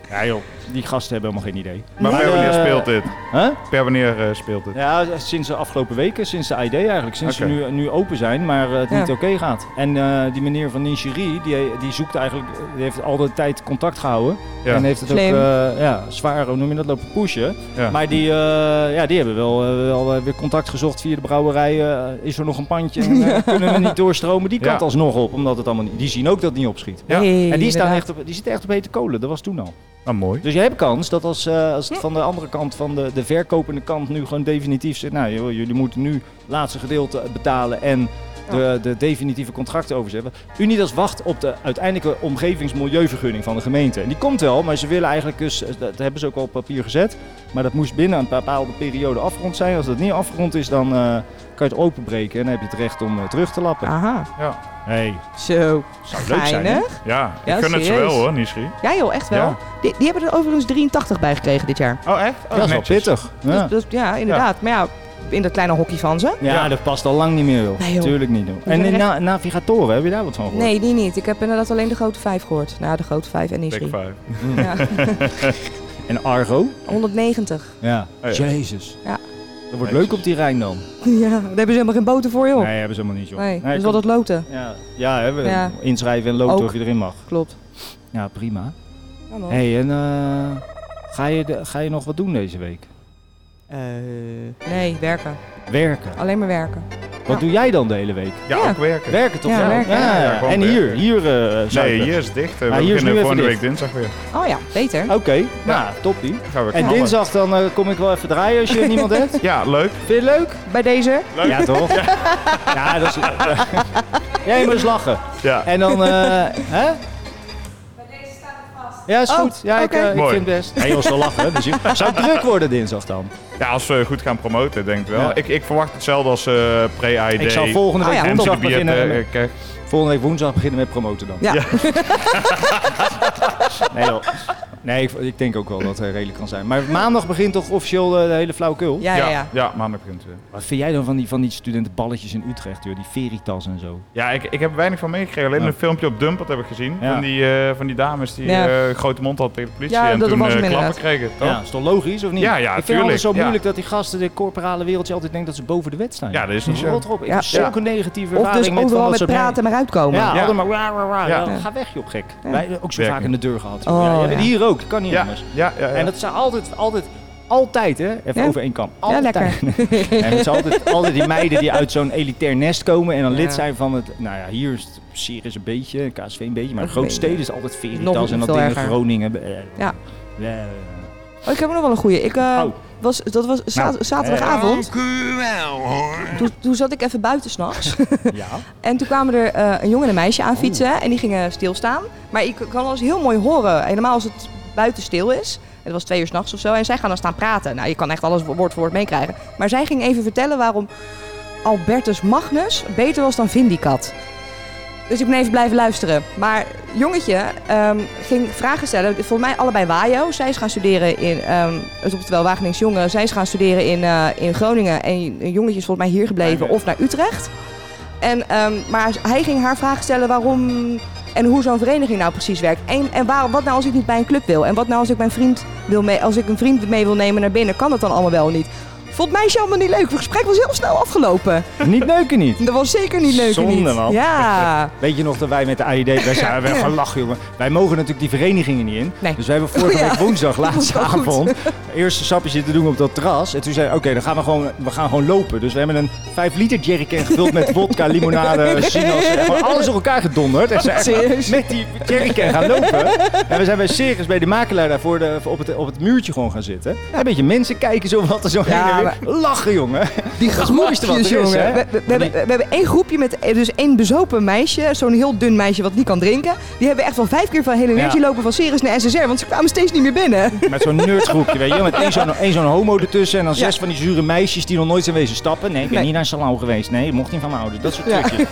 [SPEAKER 3] Ja joh, die gasten hebben helemaal geen idee.
[SPEAKER 5] Maar per wanneer
[SPEAKER 3] eh,
[SPEAKER 5] speelt dit?
[SPEAKER 3] Huh?
[SPEAKER 5] Per wanneer eh, speelt dit?
[SPEAKER 3] Ja, sinds de afgelopen weken, sinds de ID eigenlijk. Sinds ze
[SPEAKER 5] Oké.
[SPEAKER 3] nu, nu open zijn, maar eh, het
[SPEAKER 4] Ja.
[SPEAKER 3] niet oké gaat. En eh, die meneer van Nincherie, die, die zoekt eigenlijk, die heeft al de tijd contact gehouden.
[SPEAKER 5] Ja.
[SPEAKER 3] En heeft het
[SPEAKER 4] Slim.
[SPEAKER 3] ook eh, ja, zwaar, hoe noem je dat, lopen pushen.
[SPEAKER 5] Ja.
[SPEAKER 3] Maar die, eh, ja, die hebben wel, eh, wel eh, weer contact gezocht via de brouwerij. eh, is er nog een pandje? En,
[SPEAKER 4] [LAUGHS]
[SPEAKER 3] eh, kunnen we niet doorstromen? Die
[SPEAKER 5] Ja.
[SPEAKER 3] kant alsnog op, omdat het allemaal niet, die zien ook dat het niet opschiet.
[SPEAKER 5] Ja.
[SPEAKER 4] Nee,
[SPEAKER 3] en die, staan
[SPEAKER 4] inderdaad.
[SPEAKER 3] echt op, die zitten echt op hete kolen, dat was toen al.
[SPEAKER 5] Ah, mooi.
[SPEAKER 3] Dus je hebt kans dat als, eh, als het van de andere kant, van de, de verkopende kant, nu gewoon definitief zegt: Nou, joh, jullie moeten nu het laatste gedeelte betalen en de, de definitieve contracten overzetten. Unidas wacht op de uiteindelijke omgevingsmilieuvergunning van de gemeente. En die komt wel, maar ze willen eigenlijk dus, eh, dat hebben ze ook al op papier gezet, maar dat moest binnen een bepaalde periode afgerond zijn. Als dat niet afgerond is, dan eh, kan je het openbreken en dan heb je het recht om eh, terug te lappen.
[SPEAKER 4] Aha.
[SPEAKER 5] Ja.
[SPEAKER 3] Hey,
[SPEAKER 4] Zo.
[SPEAKER 3] zou leuk zijn. hè?
[SPEAKER 4] Geinig.
[SPEAKER 5] Ja, ik
[SPEAKER 4] Ja,
[SPEAKER 5] gun het ze
[SPEAKER 4] serieus.
[SPEAKER 5] wel hoor, Nisri.
[SPEAKER 4] Ja joh, echt wel.
[SPEAKER 5] Ja.
[SPEAKER 4] Die, die hebben er overigens 83 bij gekregen dit jaar.
[SPEAKER 5] Oh, echt?
[SPEAKER 3] Dat is wel pittig.
[SPEAKER 4] Ja,
[SPEAKER 3] Ja.
[SPEAKER 4] dus, ja inderdaad. Maar ja, in dat kleine hokje van ze.
[SPEAKER 3] Ja, dat past al lang niet meer, joh.
[SPEAKER 4] Nee, joh.
[SPEAKER 3] Tuurlijk niet, joh.
[SPEAKER 4] ben
[SPEAKER 3] En de
[SPEAKER 4] echt-
[SPEAKER 3] na- navigatoren, heb je daar wat van gehoord?
[SPEAKER 4] Nee, die niet. Ik heb inderdaad alleen de grote vijf gehoord. Nou, de grote vijf en
[SPEAKER 5] Big
[SPEAKER 4] Nisri.
[SPEAKER 5] five.
[SPEAKER 4] Ja.
[SPEAKER 3] En Argo?
[SPEAKER 4] 190.
[SPEAKER 3] Ja.
[SPEAKER 5] Oh, ja.
[SPEAKER 3] Jezus.
[SPEAKER 4] Ja.
[SPEAKER 3] Dat wordt leuk op die Rijn dan.
[SPEAKER 4] [LAUGHS] Ja, daar hebben ze helemaal geen boten voor, joh. Nee,
[SPEAKER 3] Nee, hebben ze helemaal niet, joh.
[SPEAKER 4] dat is
[SPEAKER 3] kom-
[SPEAKER 4] wel dat loten.
[SPEAKER 3] Ja, ja, hè, we
[SPEAKER 4] Ja.
[SPEAKER 3] inschrijven en loten
[SPEAKER 4] Ook.
[SPEAKER 3] of je erin mag.
[SPEAKER 4] Klopt.
[SPEAKER 3] Ja, prima.
[SPEAKER 4] Ja, man.
[SPEAKER 3] hey, en eh, ga, je de- ga je nog wat doen deze week?
[SPEAKER 4] Nee, werken.
[SPEAKER 3] Werken.
[SPEAKER 4] Alleen maar werken.
[SPEAKER 3] Wat doe jij dan de hele week?
[SPEAKER 5] Ja,
[SPEAKER 4] Ja.
[SPEAKER 5] ook werken.
[SPEAKER 3] Werken toch
[SPEAKER 4] Ja,
[SPEAKER 3] wel?
[SPEAKER 4] werken.
[SPEAKER 3] Ja,
[SPEAKER 5] Ja, gewoon
[SPEAKER 3] en hier,
[SPEAKER 5] werken.
[SPEAKER 3] hier eh
[SPEAKER 5] Nee,
[SPEAKER 3] zuipen.
[SPEAKER 5] hier is het dicht. Eh,
[SPEAKER 3] Ah,
[SPEAKER 5] we
[SPEAKER 3] hier is nu
[SPEAKER 5] beginnen
[SPEAKER 3] even
[SPEAKER 5] volgende
[SPEAKER 3] dicht.
[SPEAKER 5] week dinsdag weer.
[SPEAKER 4] Oh ja, beter.
[SPEAKER 3] Oké, nou, top die.
[SPEAKER 5] Gaan we
[SPEAKER 3] En
[SPEAKER 5] knallen.
[SPEAKER 3] dinsdag dan eh, kom ik wel even draaien
[SPEAKER 4] [LAUGHS]
[SPEAKER 3] als je niemand hebt.
[SPEAKER 5] Ja, leuk.
[SPEAKER 3] Vind je het leuk?
[SPEAKER 4] Bij deze.
[SPEAKER 5] Leuk.
[SPEAKER 3] Ja,
[SPEAKER 5] [LAUGHS]
[SPEAKER 3] toch? Ja, dat is... [LAUGHS] Jij moet eens lachen.
[SPEAKER 5] Ja.
[SPEAKER 3] En dan, eh,
[SPEAKER 4] [LAUGHS]
[SPEAKER 3] hè? Ja, is
[SPEAKER 4] Oh,
[SPEAKER 3] goed. Ja, ik,
[SPEAKER 4] oké.
[SPEAKER 3] eh, ik
[SPEAKER 5] Mooi.
[SPEAKER 3] vind het best. Hij was wel lachen. Dus je- [LAUGHS] zou het druk worden dinsdag dan?
[SPEAKER 5] Ja, als we goed gaan promoten, denk ik wel.
[SPEAKER 3] Ja.
[SPEAKER 5] Ik, ik verwacht hetzelfde als eh, pre-ID.
[SPEAKER 3] Ik zal volgende
[SPEAKER 4] Oh,
[SPEAKER 3] week
[SPEAKER 4] ja.
[SPEAKER 5] MC
[SPEAKER 3] woensdag
[SPEAKER 5] de Bier,
[SPEAKER 3] beginnen.
[SPEAKER 5] eh, kijk.
[SPEAKER 3] Ah, Volgende week woensdag beginnen met promoten dan.
[SPEAKER 4] Ja.
[SPEAKER 3] Nee joh. Nee, ik, ik denk ook wel dat hij redelijk kan zijn. Maar maandag begint toch officieel eh, de hele flauwekul?
[SPEAKER 4] Ja, ja, ja.
[SPEAKER 5] maandag begint het weer.
[SPEAKER 3] Wat vind jij dan van die, van die studentenballetjes in Utrecht, joh? Die veritas en zo.
[SPEAKER 5] Ja, ik, ik heb er weinig van meegekregen. Alleen
[SPEAKER 3] Ja.
[SPEAKER 5] een filmpje op Dumpert heb ik gezien.
[SPEAKER 3] Ja.
[SPEAKER 5] Van, die, eh, van die dames die
[SPEAKER 3] Ja.
[SPEAKER 5] eh, grote mond hadden tegen de politie.
[SPEAKER 3] Ja,
[SPEAKER 5] en
[SPEAKER 3] dat
[SPEAKER 5] toen
[SPEAKER 3] was
[SPEAKER 5] eh,
[SPEAKER 3] hem
[SPEAKER 5] klappen
[SPEAKER 3] inderdaad.
[SPEAKER 5] kregen, toch?
[SPEAKER 3] Ja, is toch logisch of niet?
[SPEAKER 5] Ja, ja,
[SPEAKER 3] ik vind het
[SPEAKER 5] tuurlijk.
[SPEAKER 3] altijd zo
[SPEAKER 5] Ja.
[SPEAKER 3] moeilijk dat die gasten, de corporale wereldje, altijd denken dat ze boven de wet staan.
[SPEAKER 5] Ja, dat is niet zo.
[SPEAKER 3] Rot erop. Ik
[SPEAKER 5] Ja.
[SPEAKER 3] heb zulke
[SPEAKER 5] Ja.
[SPEAKER 3] negatieve
[SPEAKER 4] Of
[SPEAKER 3] ervaring
[SPEAKER 4] dus
[SPEAKER 3] met van
[SPEAKER 4] overal
[SPEAKER 3] dat
[SPEAKER 4] met
[SPEAKER 3] soort
[SPEAKER 4] praten maar uitkomen.
[SPEAKER 3] Ja,
[SPEAKER 4] Ja.
[SPEAKER 3] altijd maar raar, raar, raar.
[SPEAKER 4] Ja.
[SPEAKER 3] Ja, Ga weg, joh, gek.
[SPEAKER 4] Ja.
[SPEAKER 3] Wij ook zo
[SPEAKER 5] Werken.
[SPEAKER 3] vaak aan de deur gehad.
[SPEAKER 4] Oh,
[SPEAKER 3] joh. ja, je hebt het
[SPEAKER 4] ja.
[SPEAKER 3] hier ook, het kan niet
[SPEAKER 5] Ja.
[SPEAKER 3] anders.
[SPEAKER 5] Ja, ja, ja.
[SPEAKER 3] En dat is altijd, altijd, altijd, hè? Even
[SPEAKER 4] Ja.
[SPEAKER 3] over één kam.
[SPEAKER 4] Ja,
[SPEAKER 3] Altijd.
[SPEAKER 4] lekker.
[SPEAKER 3] [LAUGHS] En het zijn altijd, altijd die meiden die uit zo'n elitair nest komen en dan
[SPEAKER 4] Ja.
[SPEAKER 3] lid zijn van het... Nou ja, hier is het Sirius een beetje, KSV een beetje, maar
[SPEAKER 4] Een
[SPEAKER 3] grote
[SPEAKER 4] beetje.
[SPEAKER 3] steden is het altijd
[SPEAKER 4] Nog
[SPEAKER 3] Veritas en dat
[SPEAKER 4] veel
[SPEAKER 3] ding in
[SPEAKER 4] erger.
[SPEAKER 3] Groningen. eh,
[SPEAKER 4] Ja.
[SPEAKER 3] eh,
[SPEAKER 4] Oh, ik heb nog wel een goeie. Ik, eh, was, dat was za-
[SPEAKER 3] Oh. Nou.
[SPEAKER 4] zaterdagavond.
[SPEAKER 14] Dank u wel, hoor.
[SPEAKER 4] Toen, toen zat ik even buiten s'nachts. [LAUGHS]
[SPEAKER 3] Ja.
[SPEAKER 4] En toen kwamen er eh, een jongen en een meisje aan fietsen en die gingen stilstaan. Maar ik kan alles heel mooi horen. En normaal als het buiten stil is, en het was twee uur s'nachts of zo, en zij gaan dan staan praten. Nou, je kan echt alles woord voor woord meekrijgen. Maar zij ging even vertellen waarom Albertus Magnus beter was dan Vindicat. Dus ik ben even blijven luisteren. Maar jongetje ehm, ging vragen stellen. Volgens mij allebei Wajo. Zij is gaan studeren in... ehm, het oftewel Wagenings Jongen. Zij is gaan studeren in, eh, in Groningen. En een jongetje is volgens mij hier gebleven. Of naar Utrecht. En, ehm, maar hij ging haar vragen stellen waarom... En hoe zo'n vereniging nou precies werkt. En, en waar, wat nou als ik niet bij een club wil? En wat nou als ik mijn vriend wil mee... Als ik een vriend mee wil nemen naar binnen? Kan dat dan allemaal wel niet? Vond het meisje allemaal niet leuk. Het gesprek was heel snel afgelopen.
[SPEAKER 3] Niet neuken niet.
[SPEAKER 4] Dat was zeker niet leuk.
[SPEAKER 3] Zonde,
[SPEAKER 4] niet.
[SPEAKER 3] man.
[SPEAKER 4] Ja.
[SPEAKER 3] Weet je nog dat wij met de AID, wij zijn we gaan lachen, jongen. Wij mogen natuurlijk die verenigingen niet in. Dus we hebben vorige
[SPEAKER 4] Oh, [LAUGHS] ja.
[SPEAKER 3] week woensdag, laatste
[SPEAKER 4] was wel goed.
[SPEAKER 3] avond, eerst een sapje zitten doen op dat terras. En toen zei oké, dan gaan we gewoon, we gaan gewoon lopen. Dus we hebben een 5 liter jerrycan gevuld met vodka,
[SPEAKER 4] [LAUGHS]
[SPEAKER 3] limonade, sinaas. en Gewoon alles door elkaar gedonderd. En zijn echt
[SPEAKER 4] Serieus?
[SPEAKER 3] met die jerrycan gaan lopen. En we zijn bij Circus, bij de makelaar daar voor de, op, het, op het muurtje gewoon gaan zitten. Een beetje mensen kijken zo wat er zo
[SPEAKER 4] Ja,
[SPEAKER 3] heen en weer. Lachen, jongen. Die dat is het mooiste wat er is,
[SPEAKER 4] jongen.
[SPEAKER 3] hè.
[SPEAKER 4] We, we- we hebben, we hebben één groepje met eh, dus één bezopen meisje. Zo'n heel dun meisje wat niet kan drinken. Die hebben echt wel vijf keer van hele
[SPEAKER 3] Ja.
[SPEAKER 4] energie lopen van Ceres naar SSR. Want ze kwamen steeds niet meer binnen.
[SPEAKER 3] Met zo'n nerdgroepje, weet je wel. Met één zo'n, één zo'n homo ertussen en dan zes van die zure meisjes die nog nooit zijn wezen stappen. Nee, ik ben
[SPEAKER 4] Nee.
[SPEAKER 3] niet naar een salon geweest. Nee, mocht niet van mijn ouders. Dat soort
[SPEAKER 4] Ja.
[SPEAKER 3] trucjes.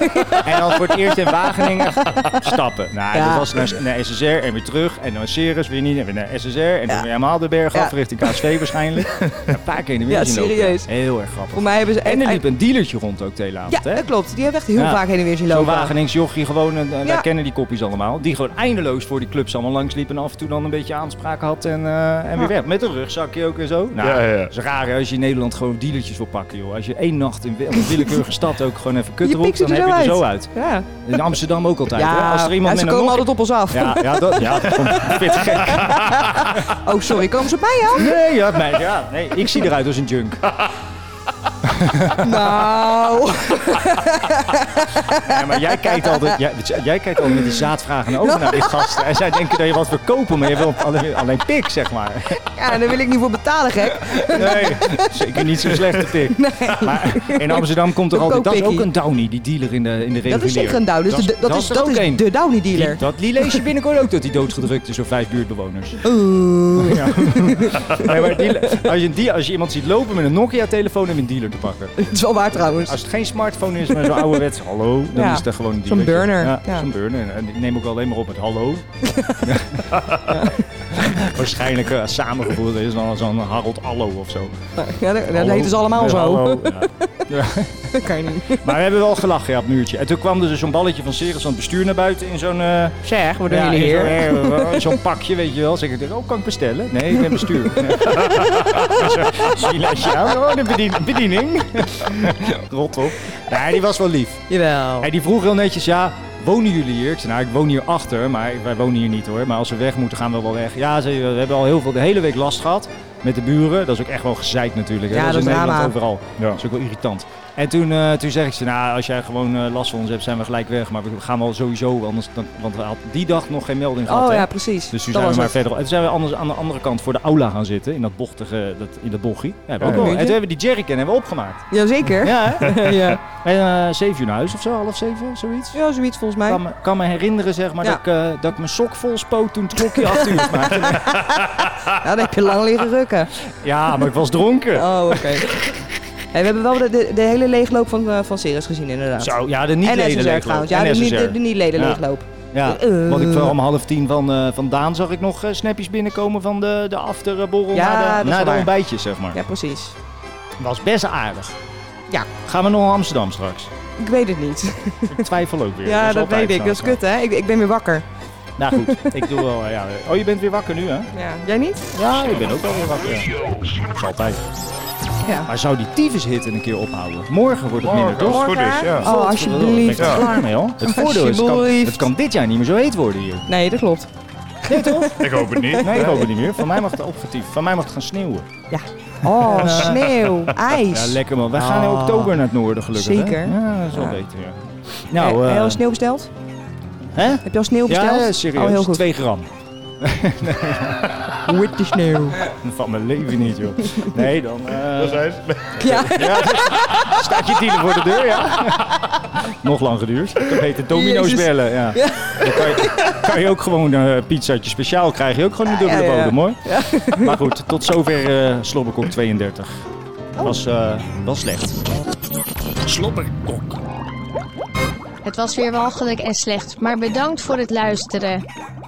[SPEAKER 3] En dan voor het eerst in
[SPEAKER 4] [LAUGHS]
[SPEAKER 3] Wageningen stappen. Nou,
[SPEAKER 4] Ja.
[SPEAKER 3] dat was naar, naar SSR en weer terug. En dan Ceres weer niet. En weer naar SSR. En dan weer helemaal de berg af,
[SPEAKER 4] Ja.
[SPEAKER 3] richting KSV
[SPEAKER 4] [LAUGHS]
[SPEAKER 3] waarschijnlijk. Een paar keer in de weer
[SPEAKER 4] Ja,
[SPEAKER 3] zien lopen.
[SPEAKER 4] serieus.
[SPEAKER 3] Heel erg grappig.
[SPEAKER 4] Voor mij hebben ze
[SPEAKER 3] En er
[SPEAKER 4] echt-
[SPEAKER 3] liep een dealertje rond ook de hele avond,
[SPEAKER 4] Ja,
[SPEAKER 3] hè?
[SPEAKER 4] dat klopt. Die hebben echt heel
[SPEAKER 3] Ja.
[SPEAKER 4] vaak heen en weer zien
[SPEAKER 3] Zo'n
[SPEAKER 4] lopen.
[SPEAKER 3] Wagenings jochie, gewoon, eh,
[SPEAKER 4] Ja.
[SPEAKER 3] wij kennen die kopjes allemaal. Die gewoon eindeloos voor die clubs allemaal langsliep en af en toe dan een beetje aanspraak had en, eh, en weer
[SPEAKER 4] Ja.
[SPEAKER 3] weg. Met een rugzakje ook en zo. Nou,
[SPEAKER 5] Ja, ja.
[SPEAKER 3] dat is raar hè, als je in Nederland gewoon dealertjes wil pakken, joh. Als je één nacht in wel- een
[SPEAKER 4] [LAUGHS]
[SPEAKER 3] willekeurige stad ook gewoon even kut
[SPEAKER 4] Je
[SPEAKER 3] roept,
[SPEAKER 4] pikt ze
[SPEAKER 3] dan
[SPEAKER 4] er
[SPEAKER 3] heb
[SPEAKER 4] zo
[SPEAKER 3] je er
[SPEAKER 4] uit.
[SPEAKER 3] zo uit.
[SPEAKER 4] Ja.
[SPEAKER 3] In Amsterdam ook altijd. hè.
[SPEAKER 4] Ja,
[SPEAKER 3] Als er iemand
[SPEAKER 4] en ze
[SPEAKER 3] met een
[SPEAKER 4] komen
[SPEAKER 3] nok-
[SPEAKER 4] altijd op ons af.
[SPEAKER 3] Ja, ja, dat, ja, dat [LAUGHS] vind ik gek.
[SPEAKER 4] Oh, sorry. Komen ze op mij af?
[SPEAKER 3] Nee, ja, nee, ja, nee, ik zie eruit als een junk.
[SPEAKER 4] Nou.
[SPEAKER 3] Ja, maar jij kijkt altijd, jij, jij kijkt altijd met die zaadvragen
[SPEAKER 4] [LAUGHS]
[SPEAKER 3] over naar die gasten. En zij denken dat je wat verkopen, maar je wil alleen, alleen pik, zeg maar.
[SPEAKER 4] Ja, daar wil ik niet voor betalen, gek.
[SPEAKER 3] Nee, [LAUGHS] zeker niet zo'n slechte
[SPEAKER 4] [LAUGHS]
[SPEAKER 3] pik. Maar in Amsterdam komt er
[SPEAKER 4] Een
[SPEAKER 3] altijd... Dat is ook
[SPEAKER 4] koopikkie.
[SPEAKER 3] een Downy, die dealer in de, in de
[SPEAKER 4] Dat
[SPEAKER 3] reguliere.
[SPEAKER 4] is zeker een Downy. Dus de- dat is-
[SPEAKER 3] er
[SPEAKER 4] dat
[SPEAKER 3] ook
[SPEAKER 4] is
[SPEAKER 3] één.
[SPEAKER 4] de Downy dealer.
[SPEAKER 3] Die, dat, die lees je binnenkort ook, dat die doodgedrukt is door vijf buurtbewoners.
[SPEAKER 4] Oeh.
[SPEAKER 3] [LAUGHS] Nee, maar die, als, je, een dia- als je iemand ziet lopen met een Nokia-telefoon en een dealer te pakken.
[SPEAKER 4] Het is wel waar trouwens.
[SPEAKER 3] Als het geen smartphone is, maar zo'n ouderwets hallo, dan
[SPEAKER 4] Ja.
[SPEAKER 3] is het gewoon een
[SPEAKER 4] Zo'n
[SPEAKER 3] dealertje.
[SPEAKER 4] burner.
[SPEAKER 3] Ja,
[SPEAKER 4] Ja.
[SPEAKER 3] zo'n burner. En ik neem ook alleen maar op met hallo.
[SPEAKER 4] [LAUGHS]
[SPEAKER 3] [LAUGHS] Waarschijnlijk eh, samengevoerd is dan zo'n Harold Allo of zo.
[SPEAKER 4] Ja, dat, dat
[SPEAKER 3] Hallo.
[SPEAKER 4] heten ze allemaal
[SPEAKER 3] Ja,
[SPEAKER 4] zo.
[SPEAKER 3] hallo. Ja.
[SPEAKER 4] Dat kan je niet.
[SPEAKER 3] Maar we hebben wel gelachen ja, op het muurtje. En toen kwam er dus zo'n balletje van Ceres van het bestuur naar buiten in zo'n... eh,
[SPEAKER 4] Zeg, we doen
[SPEAKER 3] ja,
[SPEAKER 4] jullie
[SPEAKER 3] in zo'n-
[SPEAKER 4] hier.
[SPEAKER 3] eh, in Zo'n pakje, weet je wel. Zeg ik tegen, oh, kan ik bestellen? Nee, ik ben bestuur.
[SPEAKER 4] [LAUGHS]
[SPEAKER 3] Gilasje aan, oh, de bedien-
[SPEAKER 4] [LAUGHS]
[SPEAKER 3] bediening. Rot op. Nee, die was wel lief.
[SPEAKER 4] Jawel.
[SPEAKER 3] En die vroeg heel netjes, ja, wonen jullie hier? Ik zei, nou, ik woon hier achter, maar wij wonen hier niet hoor. Maar als we weg moeten, gaan we wel weg. Ja, zei, we hebben al heel veel, de hele week last gehad met de buren. Dat is ook echt wel gezeik natuurlijk. hè.
[SPEAKER 4] Ja,
[SPEAKER 3] dat is
[SPEAKER 4] dat
[SPEAKER 3] in
[SPEAKER 4] is
[SPEAKER 3] Nederland
[SPEAKER 4] drama.
[SPEAKER 3] overal. Dat is ook wel irritant. En toen, eh, toen zeg ik ze, nou, als jij gewoon eh, last van ons hebt, zijn we gelijk weg. Maar we gaan wel sowieso, anders, dan, want we hadden die dag nog geen melding gehad.
[SPEAKER 4] Oh
[SPEAKER 3] hè.
[SPEAKER 4] ja, precies.
[SPEAKER 3] Dus toen
[SPEAKER 4] Dat
[SPEAKER 3] zijn we
[SPEAKER 4] was
[SPEAKER 3] maar
[SPEAKER 4] het.
[SPEAKER 3] verder. En toen zijn we anders aan de andere kant voor de aula gaan zitten, in dat bochtige, dat, in dat bochie. Ja, hebben we ook
[SPEAKER 4] Ja.
[SPEAKER 3] wel. En toen hebben we die jerrycan hebben we opgemaakt.
[SPEAKER 4] Jazeker.
[SPEAKER 3] Ja, hè?
[SPEAKER 4] [LAUGHS] ja.
[SPEAKER 3] En, eh, zeven uur naar huis of zo, half zeven, zoiets.
[SPEAKER 4] ja, zoiets volgens
[SPEAKER 3] Ik
[SPEAKER 4] mij.
[SPEAKER 3] kan me, kan me herinneren zeg maar,
[SPEAKER 4] Ja.
[SPEAKER 3] dat, ik, eh, dat ik mijn sok vol spoot toen het klokje acht
[SPEAKER 4] [LAUGHS]
[SPEAKER 3] uur maakte.
[SPEAKER 4] Ja, dan heb je lang liggen rukken.
[SPEAKER 3] Ja, maar ik was dronken.
[SPEAKER 4] Oh,
[SPEAKER 3] [LAUGHS]
[SPEAKER 4] oké. Hey, we hebben wel de, de, de hele leegloop van, eh, van Ceres gezien, inderdaad.
[SPEAKER 3] Zo, ja, de niet-leden
[SPEAKER 4] En SSR
[SPEAKER 3] leegloop.
[SPEAKER 4] trouwens. Ja,
[SPEAKER 3] En
[SPEAKER 4] de, niet-
[SPEAKER 3] SSR.
[SPEAKER 4] de, de niet-leden
[SPEAKER 3] Ja.
[SPEAKER 4] leegloop.
[SPEAKER 3] Ja,
[SPEAKER 4] Eh.
[SPEAKER 3] want ik zag om half tien van, eh, van Daan zag ik nog eh, snapjes binnenkomen van de, de afterborrel
[SPEAKER 4] Ja,
[SPEAKER 3] na
[SPEAKER 4] dat
[SPEAKER 3] de,
[SPEAKER 4] is
[SPEAKER 3] na de
[SPEAKER 4] waar.
[SPEAKER 3] ontbijtjes, zeg maar.
[SPEAKER 4] Ja, precies.
[SPEAKER 3] Was best aardig.
[SPEAKER 4] Ja.
[SPEAKER 3] Gaan we nog naar Amsterdam straks?
[SPEAKER 4] Ik weet het [LAUGHS] niet.
[SPEAKER 3] Ik twijfel ook weer.
[SPEAKER 4] ja,
[SPEAKER 3] is
[SPEAKER 4] dat
[SPEAKER 3] altijd
[SPEAKER 4] weet
[SPEAKER 3] zo.
[SPEAKER 4] ik. Dat is kut, hè? Ik, ik ben weer wakker.
[SPEAKER 3] Nou goed, ik doe wel. eh, Ja. Oh, je bent weer wakker nu, hè?
[SPEAKER 4] Ja. Jij niet?
[SPEAKER 3] Ja, ik ben ook wel weer wakker. ja. Dat is altijd.
[SPEAKER 4] Ja.
[SPEAKER 3] Maar zou die tyfushit een keer ophouden? Morgen wordt het
[SPEAKER 5] Morgen,
[SPEAKER 3] minder,
[SPEAKER 5] als
[SPEAKER 3] toch?
[SPEAKER 5] het goed is, ja. Oh,
[SPEAKER 3] Godverdomme, daar ben ik
[SPEAKER 4] alsjeblieft.
[SPEAKER 3] er klaar mee, hoor. Het voordeel is, het kan,
[SPEAKER 4] Alsjeblieft.
[SPEAKER 3] het kan dit jaar niet meer zo heet worden hier.
[SPEAKER 4] Nee, dat klopt.
[SPEAKER 3] Nee, toch?
[SPEAKER 5] Ik hoop het niet.
[SPEAKER 3] Nee, ik
[SPEAKER 5] [LAUGHS]
[SPEAKER 3] hoop het niet meer. Van mij mag het opgetiefd. Van mij mag het gaan sneeuwen.
[SPEAKER 4] Ja. Oh, sneeuw,
[SPEAKER 3] [LAUGHS]
[SPEAKER 4] ijs.
[SPEAKER 3] Ja, lekker man. Wij gaan in
[SPEAKER 4] Ah.
[SPEAKER 3] oktober naar het noorden, gelukkig. hè?
[SPEAKER 4] Zeker.
[SPEAKER 3] Ja, dat is wel
[SPEAKER 4] Ja.
[SPEAKER 3] beter, ja.
[SPEAKER 4] Nou,
[SPEAKER 3] Nou,
[SPEAKER 4] Heb je
[SPEAKER 3] eh,
[SPEAKER 4] al sneeuw besteld?
[SPEAKER 3] hè?
[SPEAKER 4] Heb je al sneeuw besteld?
[SPEAKER 3] Ja, ja, serieus.
[SPEAKER 4] Oh, heel goed.
[SPEAKER 3] 2 gram.
[SPEAKER 4] Witte sneeuw.
[SPEAKER 3] [LAUGHS] Van mijn leven niet, joh. Nee, dan... eh,
[SPEAKER 5] Dat zijn
[SPEAKER 4] Ja.
[SPEAKER 3] Staat je dealer voor de deur, ja? Nog lang geduurd. Ik heb beter domino's
[SPEAKER 4] Jezus.
[SPEAKER 3] bellen, ja.
[SPEAKER 4] Ja.
[SPEAKER 3] Dan kan je, kan je ook gewoon een pizzaatje speciaal krijgen. Ook gewoon een dubbele
[SPEAKER 4] Ja, ja, ja.
[SPEAKER 3] bodem, hoor. Maar goed, tot zover eh Slobberkok 32.
[SPEAKER 4] Oh.
[SPEAKER 3] Was eh, wel slecht. Slobberkok.
[SPEAKER 11] Het was weer walgelijk en slecht, maar bedankt voor het luisteren.